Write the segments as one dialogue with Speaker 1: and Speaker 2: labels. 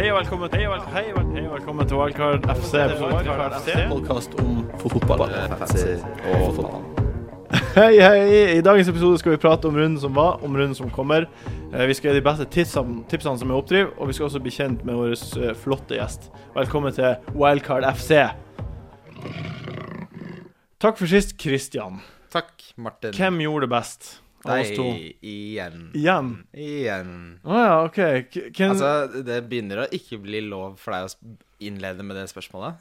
Speaker 1: Hei og velkommen til Hei og vel- hei og vel- hei og velkommen til Wildcard FC. Wildcard FC.
Speaker 2: podkast om fotball. og fotball.
Speaker 1: Hei, hei! I dagens episode skal vi prate om runden som var, om runden som kommer. Eh, Vi skal gi de beste tipsene, tipsene som er oppdriv, og vi skal også bli kjent med vår eh, flotte gjest. Velkommen til Wildcard FC. Takk for sist, Christian.
Speaker 3: Takk, Martin.
Speaker 1: Hvem gjorde det best av oss
Speaker 3: Deg
Speaker 1: to?
Speaker 3: igjen.
Speaker 1: Igjen?
Speaker 3: Igjen.
Speaker 1: Å ja, OK. K- Hvem
Speaker 3: Altså, det begynner å ikke bli lov for deg å sp- innlede med det spørsmålet.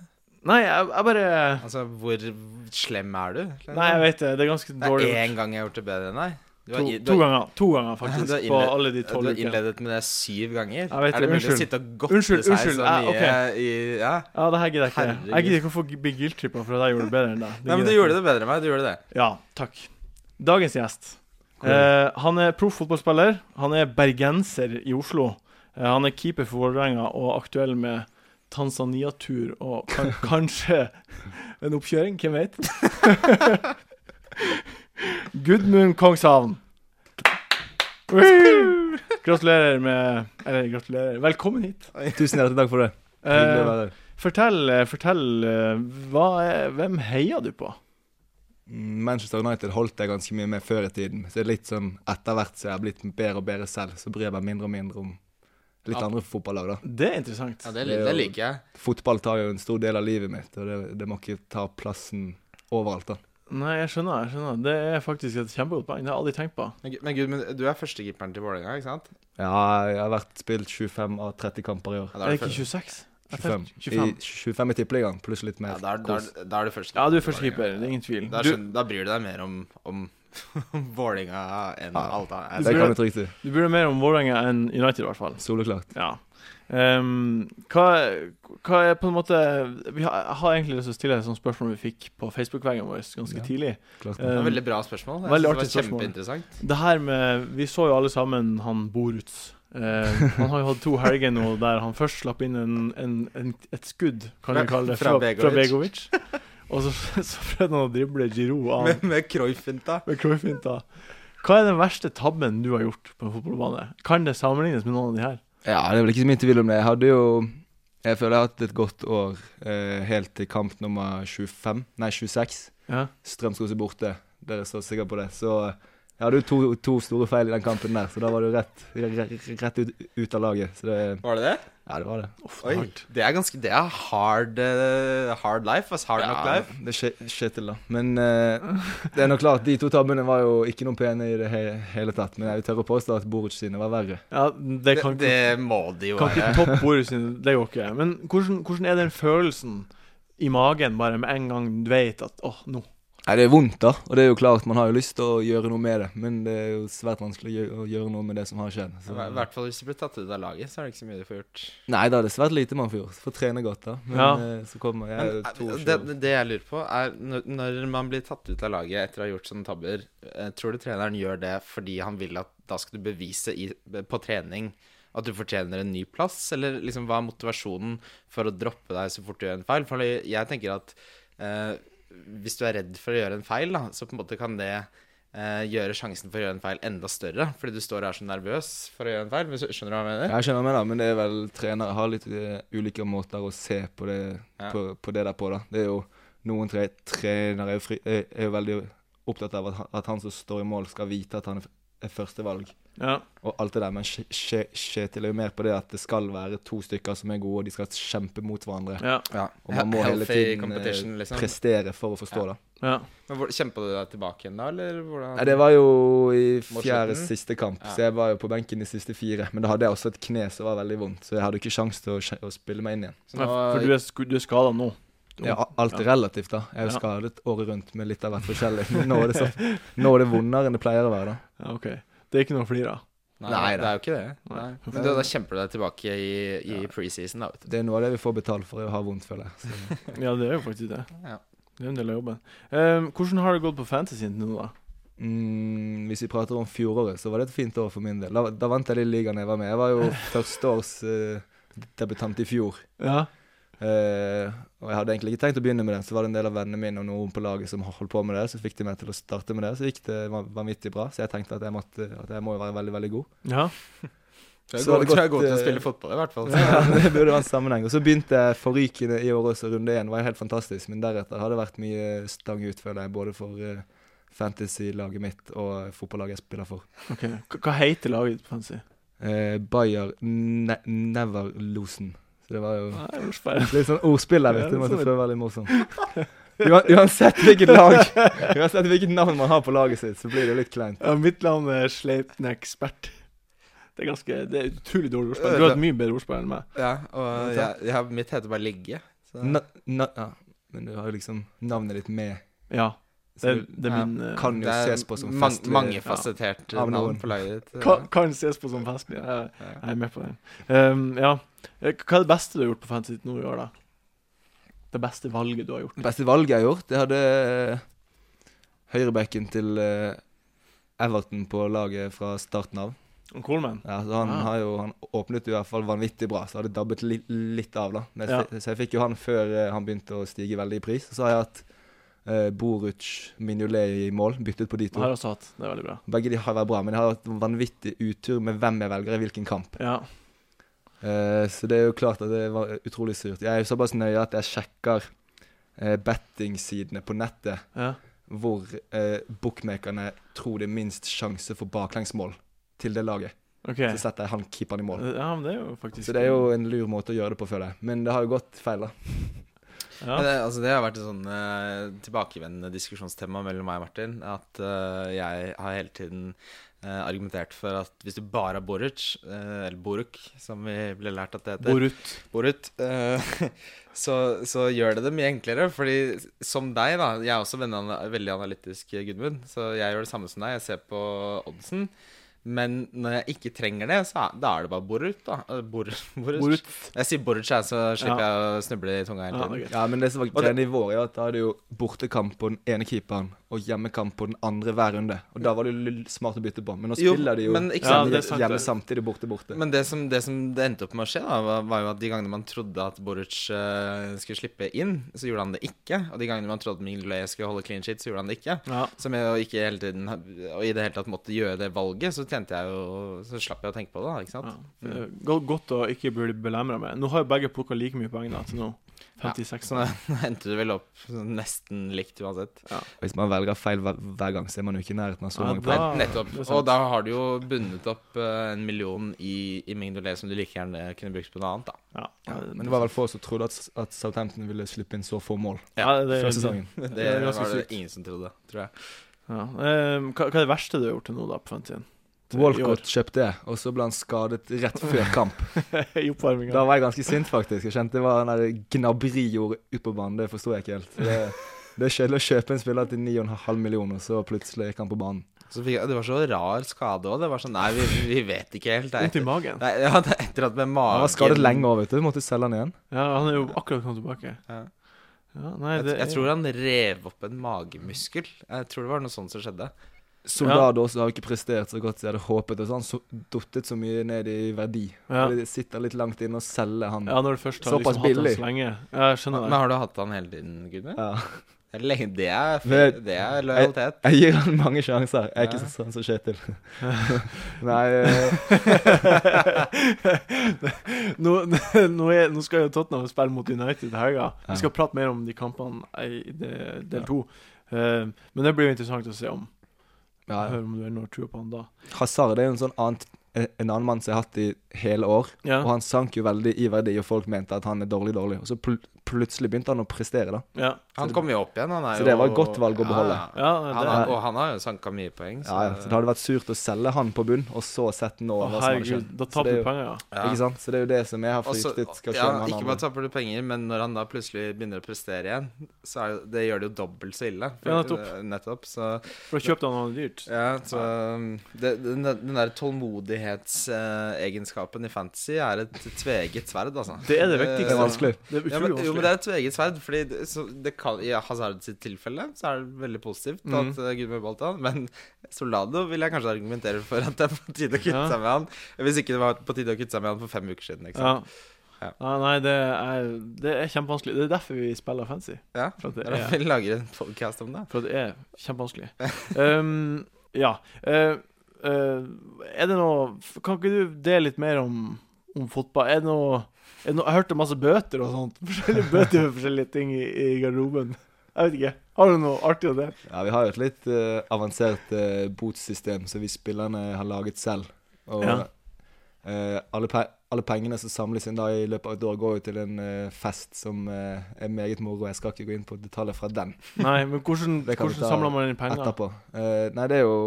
Speaker 1: Nei, jeg, jeg bare
Speaker 3: Altså, hvor slem er du?
Speaker 1: Nei, jeg vet det. Det er ganske
Speaker 3: Det
Speaker 1: dårlig.
Speaker 3: er én gang jeg har gjort det bedre enn deg. Du
Speaker 1: To,
Speaker 3: har, i- du
Speaker 1: to
Speaker 3: har-
Speaker 1: ganger. To ganger,
Speaker 3: du
Speaker 1: faktisk,
Speaker 3: har
Speaker 1: på
Speaker 3: innled-
Speaker 1: alle de tolv
Speaker 3: Du har
Speaker 1: ukene.
Speaker 3: innledet med det syv ganger.
Speaker 1: Jeg vet
Speaker 3: er
Speaker 1: det,
Speaker 3: det mulig å
Speaker 1: unnskyld.
Speaker 3: sitte og godte
Speaker 1: Unnskyld,
Speaker 3: seg
Speaker 1: unnskyld,
Speaker 3: så
Speaker 1: eh,
Speaker 3: mye i ja?
Speaker 1: Ja, det her gidder jeg ikke. Jeg
Speaker 3: Herregud.
Speaker 1: gidder ikke å få g- bli guilt-trippa for at jeg gjorde det bedre enn deg.
Speaker 3: Nei, men du gjorde det bedre enn meg. Du gjorde det.
Speaker 1: Ja, takk. Dagens gjest.
Speaker 3: Cool.
Speaker 1: Eh, han er proff fotballspiller. Han er bergenser i Oslo. Eh, han er keeper for Vålerenga og aktuell med Tanzania-tur og kan, kanskje en oppkjøring, hvem vet? Gudmund Kongshavn. Woo! Gratulerer med Eller, gratulerer. Velkommen hit.
Speaker 2: Tusen hjertelig takk for det. Hyggelig å
Speaker 1: Eh,
Speaker 2: være her.
Speaker 1: fortell, eh, fortell eh, hva er, Hvem heier du på?
Speaker 2: Mm, Manchester United holdt jeg ganske mye med før i tiden. Så det er litt sånn etter hvert som jeg har blitt bedre og bedre selv, så bryr jeg meg mindre og mindre om litt
Speaker 3: Ja.
Speaker 2: andre fotballag, da.
Speaker 1: Det er interessant.
Speaker 3: Ja, det,
Speaker 2: Det er
Speaker 3: det
Speaker 2: jo-
Speaker 3: liker jeg.
Speaker 2: Fotball tar jo en stor del av livet mitt, og det, det må ikke ta plassen overalt, da.
Speaker 1: Nei, jeg skjønner. jeg skjønner Det er faktisk et kjempegodt poeng. Det har jeg aldri tenkt på.
Speaker 3: Men Gud- Men gud, men du er førstekeeperen til Vålerenga, ikke sant?
Speaker 2: Ja, jeg har vært spilt 25 av 30 kamper i år.
Speaker 3: Ja, da
Speaker 1: Er
Speaker 3: er
Speaker 1: det
Speaker 3: du
Speaker 1: ikke
Speaker 3: først-
Speaker 1: 26? Jeg tar
Speaker 2: 25,
Speaker 1: 25.
Speaker 2: I, 25 i tippeligaen, pluss litt
Speaker 3: Ja,
Speaker 2: mer.
Speaker 3: da er- da er- da er du førstekeeper.
Speaker 1: Ja, du er
Speaker 3: til Vålerenga.
Speaker 1: førstekeeper. Det er ingen tvil.
Speaker 3: Da,
Speaker 1: Du,
Speaker 3: skjønner, da bryr du deg mer om, om, om Vålinga enn
Speaker 2: Ja.
Speaker 3: alt
Speaker 2: kos.
Speaker 3: annet.
Speaker 2: Det
Speaker 1: burde-
Speaker 2: kan du trygt si.
Speaker 1: du burde mer om Vålerenga enn United, i hvert fall.
Speaker 2: Soleklart.
Speaker 1: Ja. Ehm, hva, hva er på en måte vi har, Jeg har egentlig lyst til å stille et sånt spørsmål vi fikk på Facebook-veggen vår ganske
Speaker 2: Ja.
Speaker 1: tidlig.
Speaker 2: Klart.
Speaker 3: Det
Speaker 1: Ehm,
Speaker 3: var veldig bra spørsmål. Jeg
Speaker 1: Veldig
Speaker 3: synes
Speaker 1: artig
Speaker 3: det var
Speaker 1: spørsmål.
Speaker 3: Kjempeinteressant.
Speaker 1: Det her med Vi så jo alle sammen han Borutz. Eh, han har jo hatt to helger nå der han først slapp inn en, en, en, et skudd, kan vi
Speaker 3: Fra-
Speaker 1: kalle det,
Speaker 3: fra
Speaker 1: fra Begovic. Og så, så prøvde han å drible Giroud av
Speaker 3: Med, med Cruyff-finta.
Speaker 1: med Cruyff-finta. Hva er den verste tabben du har gjort på en fotballbane? Kan det sammenlignes med noen av de her?
Speaker 2: Ja, det er vel ikke så mye tvil om det. Jeg hadde jo Jeg føler jeg har hatt et godt år eh, helt til kamp nummer 25, nei 26.
Speaker 1: Ja.
Speaker 2: Strømskog er borte. Dere er så sikre på det. Så eh, jeg hadde jo to, to store feil i den kampen der, så da var du rett, rett, rett ut, ut av laget. Så det
Speaker 3: Var det det?
Speaker 2: Ja, det var det.
Speaker 1: Uff,
Speaker 3: Oi.
Speaker 1: hardt.
Speaker 3: Det er ganske Det er hard, eh, hard life. ass. hard nok life.
Speaker 2: det skje- skjer til, da. Men eh, det er nok klart, de to tabbene var jo ikke noe pene i det he hele tatt. Men jeg vil tørre å påstå at Boruc sine var verre.
Speaker 1: Ja, det
Speaker 3: Det,
Speaker 1: kan ikke,
Speaker 3: det må det jo
Speaker 1: kan
Speaker 3: være.
Speaker 1: ikke toppe Boruts sine. Det går ikke. Men hvordan, hvordan er den følelsen i magen bare med en gang du vet at åh, nå
Speaker 2: Nei, Det er vondt, da. Og det er jo klart, man har jo lyst til å gjøre noe med det. Men det er jo svært vanskelig å gjø- å gjøre noe med det som har skjedd.
Speaker 3: I
Speaker 2: Så.
Speaker 3: hvert fall hvis du blir tatt ut av laget, så er det ikke så mye du får gjort.
Speaker 2: Nei da, det er svært lite man får gjort. Får trene godt, da. Men
Speaker 1: Ja.
Speaker 2: eh, så kommer jeg
Speaker 3: Men,
Speaker 2: er jo
Speaker 3: det,
Speaker 2: 22.
Speaker 3: det jeg lurer på, er når, når man blir tatt ut av laget etter å ha gjort sånne tabber, eh, tror du treneren gjør det fordi han vil at da skal du bevise i, på trening at du fortjener en ny plass? Eller liksom, hva er motivasjonen for å droppe deg så fort du gjør en feil? For jeg tenker at eh, hvis du er redd for å gjøre en feil, da, så på en måte kan det eh, gjøre sjansen for å gjøre en feil enda større, fordi du står og er så nervøs for å gjøre en feil. Hvis du- Skjønner du hva jeg mener?
Speaker 2: Jeg skjønner meg, da, men det er vel trenere har litt eh, ulike måter å se på det,
Speaker 3: Ja.
Speaker 2: på, på det der på, da. Det er jo noen tre, trenere er jo, fri, er, er jo veldig opptatt av at, han- at han som står i mål, skal vite at han er f- er førstevalg.
Speaker 1: Ja.
Speaker 2: og alt det der, men Kje- Kje- Kjetil er jo mer på det at det skal være to stykker som er gode, og de skal kjempe mot hverandre.
Speaker 1: Ja.
Speaker 3: Ja.
Speaker 2: Og man må hele
Speaker 3: Healthy
Speaker 2: tiden
Speaker 3: competition,
Speaker 2: eh,
Speaker 3: liksom.
Speaker 2: prestere for å forstå,
Speaker 3: Ja.
Speaker 2: da.
Speaker 1: ja.
Speaker 3: Men hvor- Kjempa du deg tilbake igjen da, eller hvordan?
Speaker 2: Nei, det var jo i
Speaker 3: Mot
Speaker 2: fjerde
Speaker 3: slutten?
Speaker 2: siste kamp,
Speaker 3: Ja.
Speaker 2: så jeg var jo på benken de siste fire. Men da hadde jeg også et kne som var veldig vondt, så jeg hadde ikke sjans til å, skje- å spille meg inn igjen.
Speaker 3: Så
Speaker 1: Nei,
Speaker 3: nå-
Speaker 1: For du er, sku- du er skada nå.
Speaker 2: Ja, a- alt er relativt, da. Jeg er
Speaker 1: Ja.
Speaker 2: jo skadet året rundt med litt av hvert forskjellig. Men nå er det, så, nå er det vondere enn det pleier å være, da.
Speaker 1: Ja, OK. Det er ikke noe å flire av.
Speaker 3: Nei,
Speaker 2: Nei,
Speaker 3: det er jo ikke det.
Speaker 1: Nei.
Speaker 3: Nei. Men da, da kjemper du deg tilbake i, i preseason, da. Vet du.
Speaker 2: Det er noe av det vi får betalt for å ha vondt, føler jeg. Så.
Speaker 1: Ja, det er jo faktisk det.
Speaker 3: Ja.
Speaker 1: Det er en del av jobben. Ehm, hvordan har det gått på fantasyen til nå, da?
Speaker 2: Mm, hvis vi prater om fjoråret, så var det et fint år for min del. Da, da vant jeg de ligaene jeg var med. Jeg var jo førsteårsdebutant i fjor.
Speaker 1: Ja.
Speaker 2: Eh, og jeg hadde egentlig ikke tenkt å begynne med det. Så var det en del av vennene mine og noen på laget som holdt på med det. Så fikk de meg til å starte med det. Så gikk det van- vanvittig bra. Så jeg tenkte at jeg, måtte, at jeg må jo være veldig, veldig god.
Speaker 1: ja.
Speaker 3: Tror jeg,
Speaker 2: Så
Speaker 3: går,
Speaker 2: det
Speaker 3: tror jeg er
Speaker 2: gått,
Speaker 3: god til å
Speaker 2: eh,
Speaker 3: spille fotball, i hvert fall.
Speaker 2: Ja, det burde være en sammenheng. Og så begynte forrykende i år også, runde én. Var helt fantastisk. Men deretter har det vært mye stang ut, føler jeg. Både for eh, fantasy-laget mitt og fotballaget jeg spiller for.
Speaker 1: Ok, Hva- Hva heter laget på fancy?
Speaker 2: Eh, Bayer ne Neverlosen. Så det var jo
Speaker 1: Nei, jeg gjorde feil.
Speaker 2: litt sånn ordspill
Speaker 1: Ja,
Speaker 2: der, vet
Speaker 1: det
Speaker 2: du.
Speaker 1: er
Speaker 2: Måtte
Speaker 1: sånn.
Speaker 2: prøve å være litt morsom. Ua- Uansett hvilket lag Uansett hvilket navn man har på laget sitt, så blir det jo litt kleint.
Speaker 1: Ja, mitt navn er Sleipnekspert. Det er ganske, det er utrolig dårlig ordspill. Du har et mye bedre ordspill enn meg.
Speaker 3: Ja, og jeg, jeg, mitt heter bare Ligge. Så.
Speaker 2: Na na ja. Men du har jo liksom navnet ditt med.
Speaker 1: Ja, det,
Speaker 2: Så
Speaker 1: det er min eh,
Speaker 2: kan jo
Speaker 3: Det er
Speaker 2: ses på som
Speaker 3: mang-
Speaker 2: festlig.
Speaker 3: Mangefasettert
Speaker 2: Ja. Av
Speaker 3: navn
Speaker 2: noen.
Speaker 3: på laget ditt.
Speaker 1: kan, kan ses på som festlig. Jeg,
Speaker 3: Ja.
Speaker 1: jeg er med på den. Ehm, ja. Eh, Hva er det beste du har gjort på fantasy nå i år, da? Det beste valget du har gjort?
Speaker 2: Det beste valget jeg har gjort, jeg hadde eh, høyrebacken til eh, Everton på laget fra starten av.
Speaker 1: Coleman?
Speaker 2: Ja, så han,
Speaker 1: Ah.
Speaker 2: har jo, han åpnet jo i hvert fall vanvittig bra, så hadde dabbet li litt av. da. Men
Speaker 1: Ja.
Speaker 2: jeg, fi- Så jeg fikk jo han før eh, han begynte å stige veldig i pris. Så har jeg hatt eh, Boruc Mignolet i mål, byttet på de
Speaker 1: Har
Speaker 2: to.
Speaker 1: jeg også hatt. Det er veldig bra.
Speaker 2: Begge de har vært bra, men jeg har hatt vanvittig utur med hvem jeg velger i hvilken kamp.
Speaker 1: Ja.
Speaker 2: Eh, så det er jo klart at det var utrolig surt. Jeg er jo såpass nøye at jeg sjekker eh, bettingsidene på nettet
Speaker 1: ja.
Speaker 2: hvor eh, bookmakerne tror det er minst sjanse for baklengsmål til det laget.
Speaker 1: OK. Eh,
Speaker 2: Så setter jeg han keeperen i mål.
Speaker 1: Ja, men det er jo faktisk
Speaker 2: Så det er jo en lur måte å gjøre det på, føler jeg. Men det har jo gått feil, da.
Speaker 1: ja.
Speaker 3: Men Det, altså det har vært et sånn eh, tilbakevendende diskusjonstema mellom meg og Martin. At eh, jeg har hele tiden eh, argumentert for at hvis du bare har Boruc, eh, eller Boruk, som vi ble lært at det heter
Speaker 1: Borut.
Speaker 3: Borut, eh, så, så gjør det det mye enklere. Fordi som deg, da Jeg er også veldig, ana- veldig analytisk, eh, Gudmund. Så jeg gjør det samme som deg. Jeg ser på oddsen. Men når jeg ikke trenger det, så er, da er det bare Borut, da. Eh, Bor, Borut.
Speaker 1: Borut.
Speaker 3: Jeg sier Borut, jeg, så slipper jeg å snuble i tunga
Speaker 1: Ja,
Speaker 3: hele tiden.
Speaker 1: det er gøy.
Speaker 2: Ja, men det som var greia i vår, er at da er det jo bortekamp på den ene keeperen og hjemmekamp på den andre hver runde. Og da var det jo l- smart å bytte på. Men nå
Speaker 3: Jo,
Speaker 2: spiller de jo
Speaker 3: men ikke
Speaker 1: sant? Ja,
Speaker 2: hjemme-
Speaker 1: det er sant,
Speaker 2: hjemme
Speaker 1: det.
Speaker 2: samtidig borte borte.
Speaker 3: Men det som, det som det endte opp med å skje, da, var, var jo at de gangene man trodde at Boruc eh, skulle slippe inn, så gjorde han det ikke. Og de gangene man trodde Minglet skulle holde clean shit, så gjorde han det ikke.
Speaker 1: Ja.
Speaker 3: Som jeg jo ikke hele tiden Og i det hele tatt måtte gjøre det valget, så tjente jeg jo Så slapp jeg å tenke på det, da, ikke sant?
Speaker 1: Ja. Det er go- Godt å ikke bli belemra med. Nå har jo begge plukka like mye poeng da, til nå. 56.
Speaker 2: Sånn
Speaker 3: Så da endte det vel opp sånn nesten likt uansett.
Speaker 2: Hvis man velger feil hver, hver gang, så er man jo ikke i nærheten av så
Speaker 1: Ja,
Speaker 2: mange
Speaker 1: da-
Speaker 2: poeng.
Speaker 3: Nettopp.
Speaker 1: Ah, det er sant.
Speaker 3: Og da har du jo bundet opp eh, en million i, i Minglet som du like gjerne kunne brukt på noe annet, da.
Speaker 1: Ja.
Speaker 2: Ja, men det var vel få som trodde at, at Southampton ville slippe inn så få mål
Speaker 1: Ja, det,
Speaker 2: før sesongen.
Speaker 3: Det,
Speaker 1: Det er ganske
Speaker 3: var det
Speaker 1: sykt.
Speaker 3: ingen som trodde, tror jeg.
Speaker 1: Ja. Ehm, hva, hva er det verste du har gjort til nå, da, på fantasyen? Til i
Speaker 2: Walcott kjøpte det, og så ble han skadet rett før kamp.
Speaker 1: år? I oppvarminga.
Speaker 2: Da var jeg ganske sint, faktisk. Jeg kjente det var den der gnabri gjorde ut på banen. Det forsto jeg ikke helt. Det, det er kjedelig å kjøpe en spiller til 9,5 millioner, og så plutselig gikk han på banen.
Speaker 3: Så fikk jeg, det var så rar skade òg. Det var sånn Nei, vi, vi vet ikke helt.
Speaker 1: Vondt
Speaker 3: Det er
Speaker 1: i
Speaker 3: etter,
Speaker 1: magen.
Speaker 3: nei, ja, det er etter at med magen
Speaker 2: Han var skadet lenge òg, vet du. Måtte selge han igjen.
Speaker 1: Ja, han er jo akkurat kommet tilbake.
Speaker 3: Ja.
Speaker 1: Ja, nei,
Speaker 3: Jeg,
Speaker 1: det er-
Speaker 3: jeg tror han rev opp en magemuskel. Jeg tror det var noe sånt som skjedde.
Speaker 2: Soldado også har jo ikke prestert så godt som jeg hadde håpet. Og så har han så, duttet så mye ned i verdi.
Speaker 1: Ja.
Speaker 2: Det sitter litt langt inne å selge han.
Speaker 1: Ja, når du først har
Speaker 2: Såpass
Speaker 1: liksom hatt den
Speaker 2: billig.
Speaker 1: så lenge. Ja, Jeg skjønner
Speaker 3: Men
Speaker 1: det.
Speaker 3: har du hatt han hele tiden, Gudmund?
Speaker 2: Ja.
Speaker 3: Det er lenge- Det er,
Speaker 2: Men-
Speaker 3: det er lojalitet.
Speaker 2: Jeg gir han mange sjanser. Jeg er
Speaker 3: Ja.
Speaker 2: ikke sånn som Kjetil. Nei eh,
Speaker 1: Nå, nå, er, nå skal jo Tottenham spille mot United i helga.
Speaker 2: Ja.
Speaker 1: Vi skal prate mer om de kampene i de- del to. Ehm, men det blir jo interessant å se om
Speaker 2: ja,
Speaker 1: Høre om du har noe tro på han da.
Speaker 2: Hazard er jo en sånn annen, en annen mann som jeg har hatt i hele år.
Speaker 1: Ja,
Speaker 2: Og han sank jo veldig i verdi, og folk mente at han er dårlig, dårlig. Og så pl plutselig begynte han å prestere, da.
Speaker 1: ja,
Speaker 3: Han kom jo opp igjen. Han er
Speaker 2: Så
Speaker 3: jo
Speaker 2: det var et godt valg å beholde.
Speaker 3: Ja, ja.
Speaker 1: ja
Speaker 3: Han
Speaker 1: det
Speaker 3: har, og han har jo sanka mye poeng.
Speaker 2: Ja, ja. Så det hadde vært surt å selge han på bunn, og så sett
Speaker 1: Å,
Speaker 2: nå hva som hadde
Speaker 1: herregud,
Speaker 2: skjedd.
Speaker 1: da
Speaker 2: altså. Så
Speaker 1: taper
Speaker 2: det
Speaker 1: du
Speaker 2: er jo-
Speaker 1: penger, ja.
Speaker 3: Ja.
Speaker 2: Ikke sant? Så det er jo det som jeg har
Speaker 3: Og så-
Speaker 2: fryktet skal skje
Speaker 3: ja,
Speaker 2: med
Speaker 3: ikke bare
Speaker 2: han andre.
Speaker 3: taper du penger, men når han da plutselig begynner å prestere igjen, så er det, det gjør det jo dobbelt så ille.
Speaker 1: Ja, nettopp.
Speaker 3: nettopp så
Speaker 1: For å kjøpe han han er dyrt.
Speaker 3: Ja, så um, det, den, den der tålmodighetsegenskapen i fantasy er et tveget sverd, altså.
Speaker 1: Det er det viktigste.
Speaker 2: Det er vanskelig.
Speaker 1: Det er
Speaker 3: Ja, men,
Speaker 1: utrolig
Speaker 3: jo,
Speaker 1: vanskelig.
Speaker 3: men det er et tveget sverd, fordi det, så det kan, i Hazard sitt tilfelle så er det veldig positivt
Speaker 1: Mhm.
Speaker 3: at uh, Gudmund valgte han, men Soldado vil jeg kanskje argumentere for at det er på tide å kutte
Speaker 1: Ja.
Speaker 3: seg med han. Hvis ikke det var på tide å kutte seg med han for fem uker siden, ikke
Speaker 1: Ja.
Speaker 3: sant. Ja.
Speaker 1: Ja, nei, det er, det er kjempevanskelig. Det er derfor vi spiller fancy.
Speaker 3: Ja.
Speaker 1: For at
Speaker 3: Det
Speaker 1: det
Speaker 3: er
Speaker 1: er,
Speaker 3: derfor vi lager en podcast om det.
Speaker 1: for at det er kjempevanskelig. Um, ja. Ehm, Eh, eh, Er det noe Kan ikke du dele litt mer om, om fotball? Er det noe er det noe, jeg hørte masse bøter og sånt. Forskjellige bøter for forskjellige ting i, i garderoben. Jeg vet ikke. Har du noe artig å dele?
Speaker 2: Ja, vi har jo et litt eh, avansert eh, botssystem som vi spillerne har laget selv. Og
Speaker 1: Ja.
Speaker 2: eh, alle, pe alle pengene som samles inn da i løpet av et år, går jo til en eh, fest som eh, er meget moro. Jeg skal ikke gå inn på detaljer fra den
Speaker 1: Nei, men hvordan,
Speaker 2: Det kan vi
Speaker 1: hvordan
Speaker 2: ta
Speaker 1: samler man inn penger?
Speaker 2: etterpå. Eh, nei, det er jo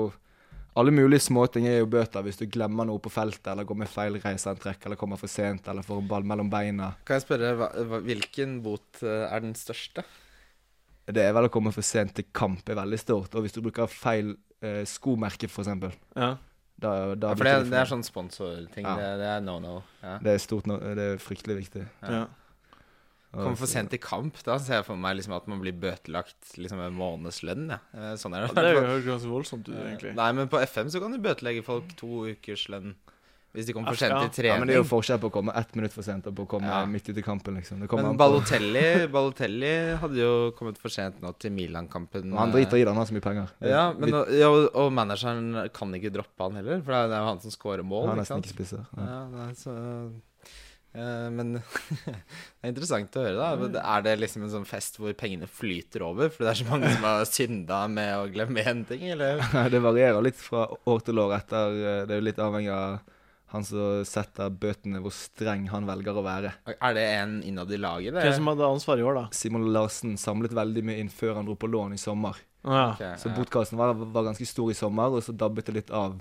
Speaker 2: Alle mulige småting er jo bøter hvis du glemmer noe på feltet, eller går med feil reiseantrekk, eller kommer for sent, eller får en ball mellom beina.
Speaker 3: Kan jeg spørre, hva, hva, hvilken bot eh, er den største?
Speaker 2: Det er vel å komme for sent til kamp er veldig stort. Og hvis du bruker feil eh, skomerke, for eksempel,
Speaker 1: Ja.
Speaker 2: da, da
Speaker 3: Ja, for det, det er sånn sponsorting.
Speaker 2: Ja.
Speaker 3: Det, det er no no. Ja.
Speaker 2: Det er stort nå, det er fryktelig viktig.
Speaker 1: Ja.
Speaker 2: Og-
Speaker 3: Kommer for sent i kamp. Da ser jeg for meg liksom at man blir bøtelagt liksom en månedslønn. Ja. Eh, Sånn er
Speaker 1: Ja,
Speaker 3: det.
Speaker 1: Det høres ganske voldsomt ut, egentlig.
Speaker 3: Nei, men på FM så kan du bøtelegge folk to ukers lønn hvis de kommer for sent
Speaker 1: Ja,
Speaker 3: til
Speaker 2: Ja,
Speaker 3: trening.
Speaker 2: men det er jo forskjell på å komme ett minutt for sent og på å komme
Speaker 3: Ja.
Speaker 2: midt ute i kampen, liksom. Det kommer
Speaker 3: Men
Speaker 2: an på
Speaker 3: Balotelli, Balotelli hadde jo kommet for sent nå til Milan-kampen.
Speaker 2: Men Han driter i det, han har så mye penger. Det-
Speaker 3: Ja, men,
Speaker 2: vi-
Speaker 3: ja, og, og manageren kan ikke droppe han heller, for det er- det er jo han som scorer mål.
Speaker 2: Han er nesten
Speaker 3: ikke sant?
Speaker 2: ikke spisser. Ja.
Speaker 3: Ja, nei, så, eh, men det er interessant å høre, da. Men
Speaker 2: Mm.
Speaker 3: Er det liksom en sånn fest hvor pengene flyter over fordi det er så mange som har synda med å glemme én ting, eller?
Speaker 2: Nei, Det varierer litt fra år til år etter eh, Det er jo litt avhengig av han som setter bøtene, hvor streng han velger å være.
Speaker 3: Er det en innad i laget, det?
Speaker 1: Hvem som hadde ansvaret i år, da?
Speaker 2: Simon Larsen samlet veldig mye inn før han dro på lån i sommer.
Speaker 1: Å ja.
Speaker 3: Ok,
Speaker 2: Så
Speaker 3: ja.
Speaker 2: podkasten var, var ganske stor i sommer, og så dabbet det litt av.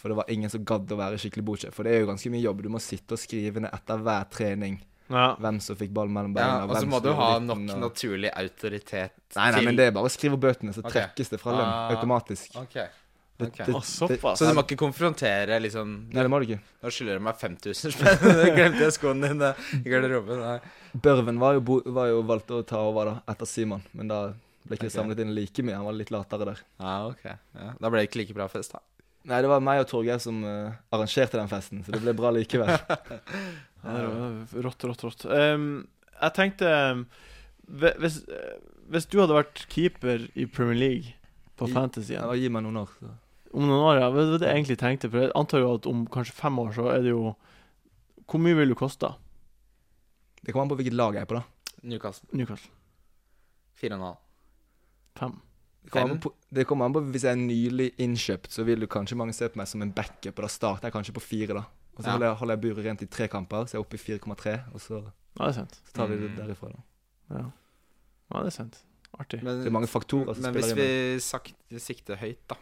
Speaker 2: For det var ingen som gadd å være skikkelig botsjef. For det er jo ganske mye jobb. Du må sitte og skrive ned etter hver trening
Speaker 1: ja.
Speaker 2: hvem som fikk ball mellom beina.
Speaker 3: ja, og så
Speaker 2: hvem
Speaker 3: må
Speaker 2: som
Speaker 3: du
Speaker 2: gjorde
Speaker 3: ha
Speaker 2: ditten,
Speaker 3: nok
Speaker 2: og-
Speaker 3: naturlig autoritet
Speaker 2: Nei, nei, men det er bare å skrive bøtene, så
Speaker 3: Ok.
Speaker 2: trekkes det fra lønn
Speaker 3: Ah.
Speaker 2: automatisk.
Speaker 3: Ok.
Speaker 2: Det,
Speaker 3: ok.
Speaker 2: det,
Speaker 1: Å, Ah, såpass.
Speaker 3: Så du må ikke konfrontere liksom
Speaker 2: nei, det må du ikke.
Speaker 3: Nå skylder du meg 5000 spenn, glemte jeg skoene dine i garderoben. Nei.
Speaker 2: Børven var jo, bo, var jo valgt å ta over da, etter Simon, men da ble ikke det
Speaker 3: Ok.
Speaker 2: samlet inn like mye. Han var litt latere der.
Speaker 3: Ja, ok. Ja. Da ble det ikke like bra fest, da.
Speaker 2: Nei, det var meg og Torgeir som eh, arrangerte den festen, så det ble bra likevel.
Speaker 1: Ja, det var Rått, rått, rått. Ehm, jeg tenkte ehm, hve- hvis, eh, hvis du hadde vært keeper i Premier League på
Speaker 2: I-
Speaker 1: Fantasy
Speaker 2: Ja, og gi meg noen år. Så.
Speaker 1: om noen år, ja, det var det jeg egentlig tenkte. For jeg antar jo at om kanskje fem år så er det jo Hvor mye vil du koste
Speaker 2: Det kommer an på hvilket lag jeg er på, da.
Speaker 3: Newcastle
Speaker 1: Newcastle?
Speaker 3: 4,5.
Speaker 1: Fem?
Speaker 2: Det kommer, an
Speaker 3: Fem?
Speaker 2: på, det kommer an på Hvis jeg er nylig innkjøpt, så vil jo kanskje mange se på meg som en backup, og da starter jeg kanskje på fire, da. Og så
Speaker 3: Ja.
Speaker 2: holder jeg, holder jeg buret rent i tre kamper, så jeg er oppe i 4,3, og så,
Speaker 1: Ja, det er sant.
Speaker 2: så tar vi det
Speaker 3: Mm.
Speaker 2: derifra, da.
Speaker 1: Ja, ja det er sant. Artig.
Speaker 3: Men,
Speaker 2: Det er mange faktorer som
Speaker 3: men
Speaker 2: spiller
Speaker 3: hvis
Speaker 2: inn.
Speaker 3: vi
Speaker 2: men
Speaker 3: sakte, sikter høyt, da,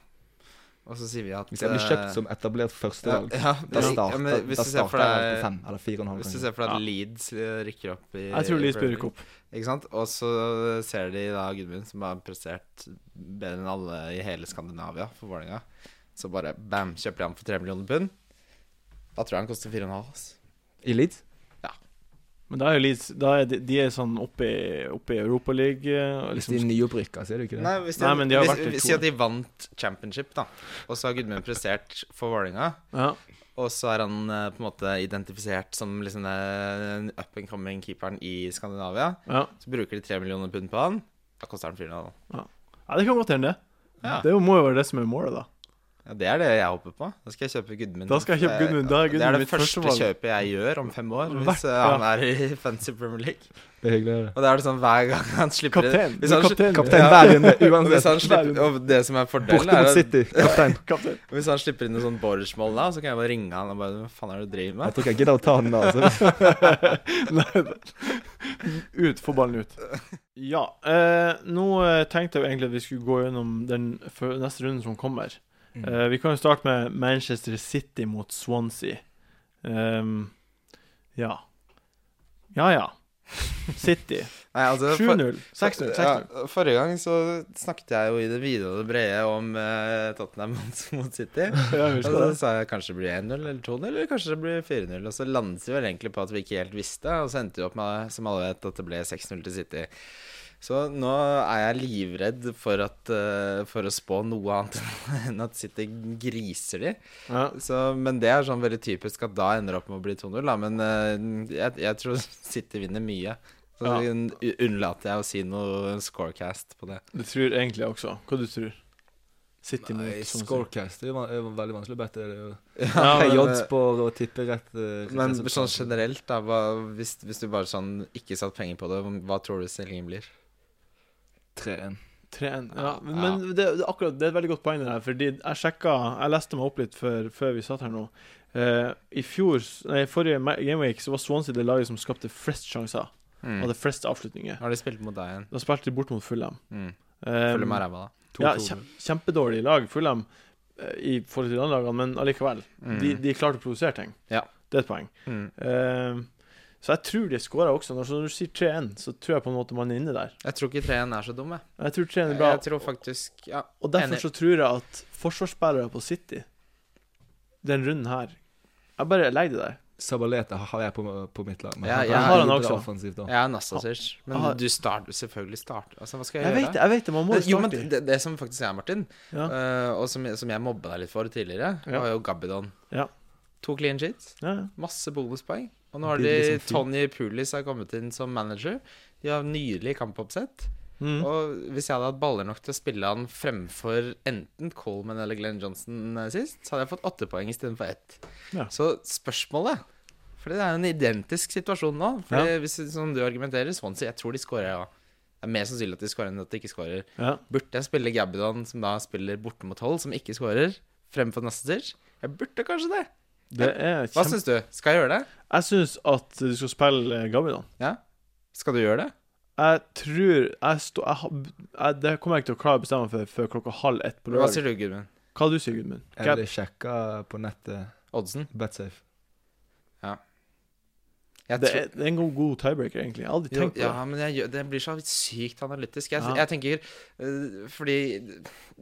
Speaker 3: og så sier vi at
Speaker 2: Hvis jeg blir
Speaker 3: eh,
Speaker 2: kjøpt som etablert
Speaker 3: ja,
Speaker 2: førstevalg,
Speaker 3: ja,
Speaker 2: da
Speaker 3: men- ja,
Speaker 2: starter,
Speaker 3: men hvis
Speaker 2: da
Speaker 3: du ser for
Speaker 2: starter jeg på
Speaker 3: deg
Speaker 2: fem, eller fire og en halv.
Speaker 3: Hvis du
Speaker 2: kanskje.
Speaker 3: ser for deg at
Speaker 1: Ja.
Speaker 3: Leeds eh, rykker opp i
Speaker 1: Jeg tror Leeds blir
Speaker 3: Premier
Speaker 1: rykket opp.
Speaker 3: League, Ikke sant? Og så ser de da Gudmund, som har prestert bedre enn alle i hele Skandinavia for Vålerenga. Så bare bam, kjøper de ham for 3 millioner pund. Da tror jeg han koster 4,5. ass.
Speaker 2: I Leeds?
Speaker 1: Men da er jo Leeds da er de, de er sånn oppe i, oppe i Europaligaen.
Speaker 2: Hvis de
Speaker 1: Liksom,
Speaker 2: er nyopprykka, så er det jo ikke det.
Speaker 3: Nei, hvis
Speaker 1: Nei, men de har
Speaker 3: hvis,
Speaker 1: vært i
Speaker 3: Si
Speaker 1: to.
Speaker 3: at de vant championship, da. Og så har Gudmund prestert for Vålerenga.
Speaker 1: ja.
Speaker 3: Og så er han eh, på en måte identifisert som liksom den up and coming keeperen i Skandinavia.
Speaker 1: Ja.
Speaker 3: Så bruker de 3 millioner pund på han. Da koster han 4,5.
Speaker 1: ja, det kan godt hende.
Speaker 3: Ja.
Speaker 1: Det må jo være det som er målet, da.
Speaker 3: Ja, Det er det jeg håper på. Da skal jeg kjøpe Gudmund.
Speaker 1: Da skal jeg kjøpe Gudmund. Da er
Speaker 3: det er
Speaker 1: Gudmund
Speaker 3: det
Speaker 1: mitt
Speaker 3: første
Speaker 1: førstevalg.
Speaker 3: kjøpet jeg gjør om fem år, hvis
Speaker 1: Hvert-
Speaker 3: eh,
Speaker 1: ja.
Speaker 3: han er i Fancy Premier League.
Speaker 2: Det er hyggelig å høre.
Speaker 3: Og da er det sånn hver gang han slipper
Speaker 1: Kaptein.
Speaker 3: Hvis han,
Speaker 1: Du er kaptein.
Speaker 2: Kaptein
Speaker 3: Ja.
Speaker 2: hver runde,
Speaker 3: og hvis
Speaker 2: uansett.
Speaker 3: han slipper, og det som er fordelen,
Speaker 2: Borte
Speaker 3: er
Speaker 2: mot
Speaker 3: at
Speaker 2: City, kaptein.
Speaker 1: Kaptein.
Speaker 3: hvis han slipper inn noe sånn Borch-mål da, så kan jeg bare ringe han og bare Hva faen er det du
Speaker 2: Jeg
Speaker 3: driver med?
Speaker 2: tror ikke jeg gidder å ta den da. Altså.
Speaker 1: Nei, det- ut. Få ballen ut. Ja. Eh, nå eh, tenkte jeg jo egentlig at vi skulle gå gjennom den fø- neste runden som kommer. Eh, vi kan jo starte med Manchester City mot Swansea. Ehm, ja. Ja, ja. City.
Speaker 3: Nei, altså, for-
Speaker 1: 7-0. 6-0. 6-0.
Speaker 3: Ja, forrige gang så snakket jeg jo i det vide og det brede om eh, Tottenham mot, mot City.
Speaker 1: Ja, vi skal
Speaker 3: Og så
Speaker 1: det.
Speaker 3: sa jeg kanskje det blir 1-0 eller 2-0, eller kanskje det blir 4-0. Og så landet vi vel egentlig på at vi ikke helt visste, og så endte vi opp med, som alle vet, at det ble 6-0 til City. Så nå er jeg livredd for, at, eh, for å spå noe annet enn at City griser de.
Speaker 1: Ja.
Speaker 3: Så, men det er sånn veldig typisk at da ender det opp med å bli 2-0, da. Men eh, jeg, jeg tror City vinner mye. Så
Speaker 1: Ja.
Speaker 3: unnlater jeg å si noe scorecast på det.
Speaker 1: Du tror egentlig også. Hva du tror City mot
Speaker 2: Nei,
Speaker 1: Tromsø.
Speaker 2: Scorecast det er van- er veldig vanskelig å bette. Det er jo
Speaker 1: Ja, men,
Speaker 2: joddspor og tippe rett. eh,
Speaker 3: Men
Speaker 2: resultat.
Speaker 3: sånn generelt, da, hva, hvis, hvis du bare sånn ikke satt penger på det, hva tror du stillingen blir?
Speaker 2: 3-1.
Speaker 1: 3-1. Ja,
Speaker 3: Ja,
Speaker 1: men, men det, det, er akkurat, det er et veldig godt poeng det der. Fordi jeg sjekka Jeg leste meg opp litt før, før vi satt her nå. Eh, I fjor, nei, forrige ma- gameweek så var Swansea det laget som skapte flest sjanser.
Speaker 3: Mm.
Speaker 1: Hadde flest avslutninger.
Speaker 3: Har de spilt mot deg igjen?
Speaker 1: Da spilte de bort mot Fulham.
Speaker 3: Mm.
Speaker 1: Eh,
Speaker 3: Følger med ræva, da.
Speaker 2: 2-2.
Speaker 1: ja, kjem, kjempedårlig lag, Fulham, eh, i forhold til de andre lagene, men allikevel.
Speaker 3: Mm.
Speaker 1: De, de klarte å produsere ting.
Speaker 3: Ja.
Speaker 1: Det er et poeng.
Speaker 3: Mm.
Speaker 1: Eh, så jeg tror de skårer også. Når, så når du sier 3-1, så tror jeg på en måte man er inne der.
Speaker 3: Jeg tror ikke 3-1 er så dum, jeg.
Speaker 1: Jeg tror 3-1 er bra.
Speaker 3: Jeg tror faktisk Ja.
Speaker 1: Og derfor
Speaker 3: Enig.
Speaker 1: så tror jeg at forsvarsspillere på City Den runden her Jeg bare legger det der.
Speaker 2: Sabaleta har jeg på, på mitt lag. Men
Speaker 3: Ja,
Speaker 2: han,
Speaker 3: jeg
Speaker 2: er
Speaker 1: har han
Speaker 2: litt
Speaker 1: også.
Speaker 2: Offensivt, da.
Speaker 3: Jeg er Nastasic. Men
Speaker 1: Ah.
Speaker 3: du starter selvfølgelig start. Altså, hva skal jeg,
Speaker 1: Jeg
Speaker 3: gjøre?
Speaker 1: vet det, jeg vet det, man må jo
Speaker 3: jo, men
Speaker 1: starte.
Speaker 3: det, det som faktisk er, Martin,
Speaker 1: Ja.
Speaker 3: eh, og som, som jeg mobba deg litt for tidligere,
Speaker 1: Ja.
Speaker 3: var jo Gabidon.
Speaker 1: Ja.
Speaker 3: To clean sheets,
Speaker 1: Ja, ja.
Speaker 3: masse bonuspoeng. Og nå har de
Speaker 1: liksom
Speaker 2: Billig som fy.
Speaker 3: Tony Pulis har kommet inn som manager. De har nydelig kampoppsett.
Speaker 1: Mm.
Speaker 3: Og hvis jeg hadde hatt baller nok til å spille han fremfor enten Coleman eller Glenn Johnson eh, sist, så hadde jeg fått åtte poeng istedenfor ett.
Speaker 1: Ja.
Speaker 3: Så spørsmålet For det er jo en identisk situasjon nå. For
Speaker 1: Ja.
Speaker 3: hvis, som du argumenterer, Swansea, jeg tror de skårer, ja. Det er mer sannsynlig at de skårer enn at de ikke skårer.
Speaker 1: Ja.
Speaker 3: Burde jeg spille Gabidon, som da spiller borte mot hold, som ikke skårer, fremfor Nastic? Jeg burde kanskje det.
Speaker 1: Det er
Speaker 3: Hva
Speaker 1: kjempe...
Speaker 3: syns du? Skal jeg gjøre det?
Speaker 1: Jeg syns at du skal spille eh, Gabidan.
Speaker 3: Ja? Skal du gjøre det?
Speaker 1: Jeg tror jeg stå, jeg, har- jeg, Det kommer jeg ikke til å klare å bestemme meg for før klokka halv ett på
Speaker 3: Hva
Speaker 1: lørdag.
Speaker 3: sier du, Gudmund?
Speaker 1: Hva du sier Gudmund?
Speaker 2: Jeg ville sjekka på nettet.
Speaker 3: Oddsen?
Speaker 2: Betsafe.
Speaker 3: Jeg
Speaker 1: Det
Speaker 3: tror-
Speaker 1: er, det er en god, god tiebreaker, egentlig. Jeg har aldri
Speaker 3: Jo,
Speaker 1: tenkt på
Speaker 3: ja, men jeg, gjør- det blir så sykt analytisk. Jeg,
Speaker 1: Ja.
Speaker 3: jeg tenker øh, Fordi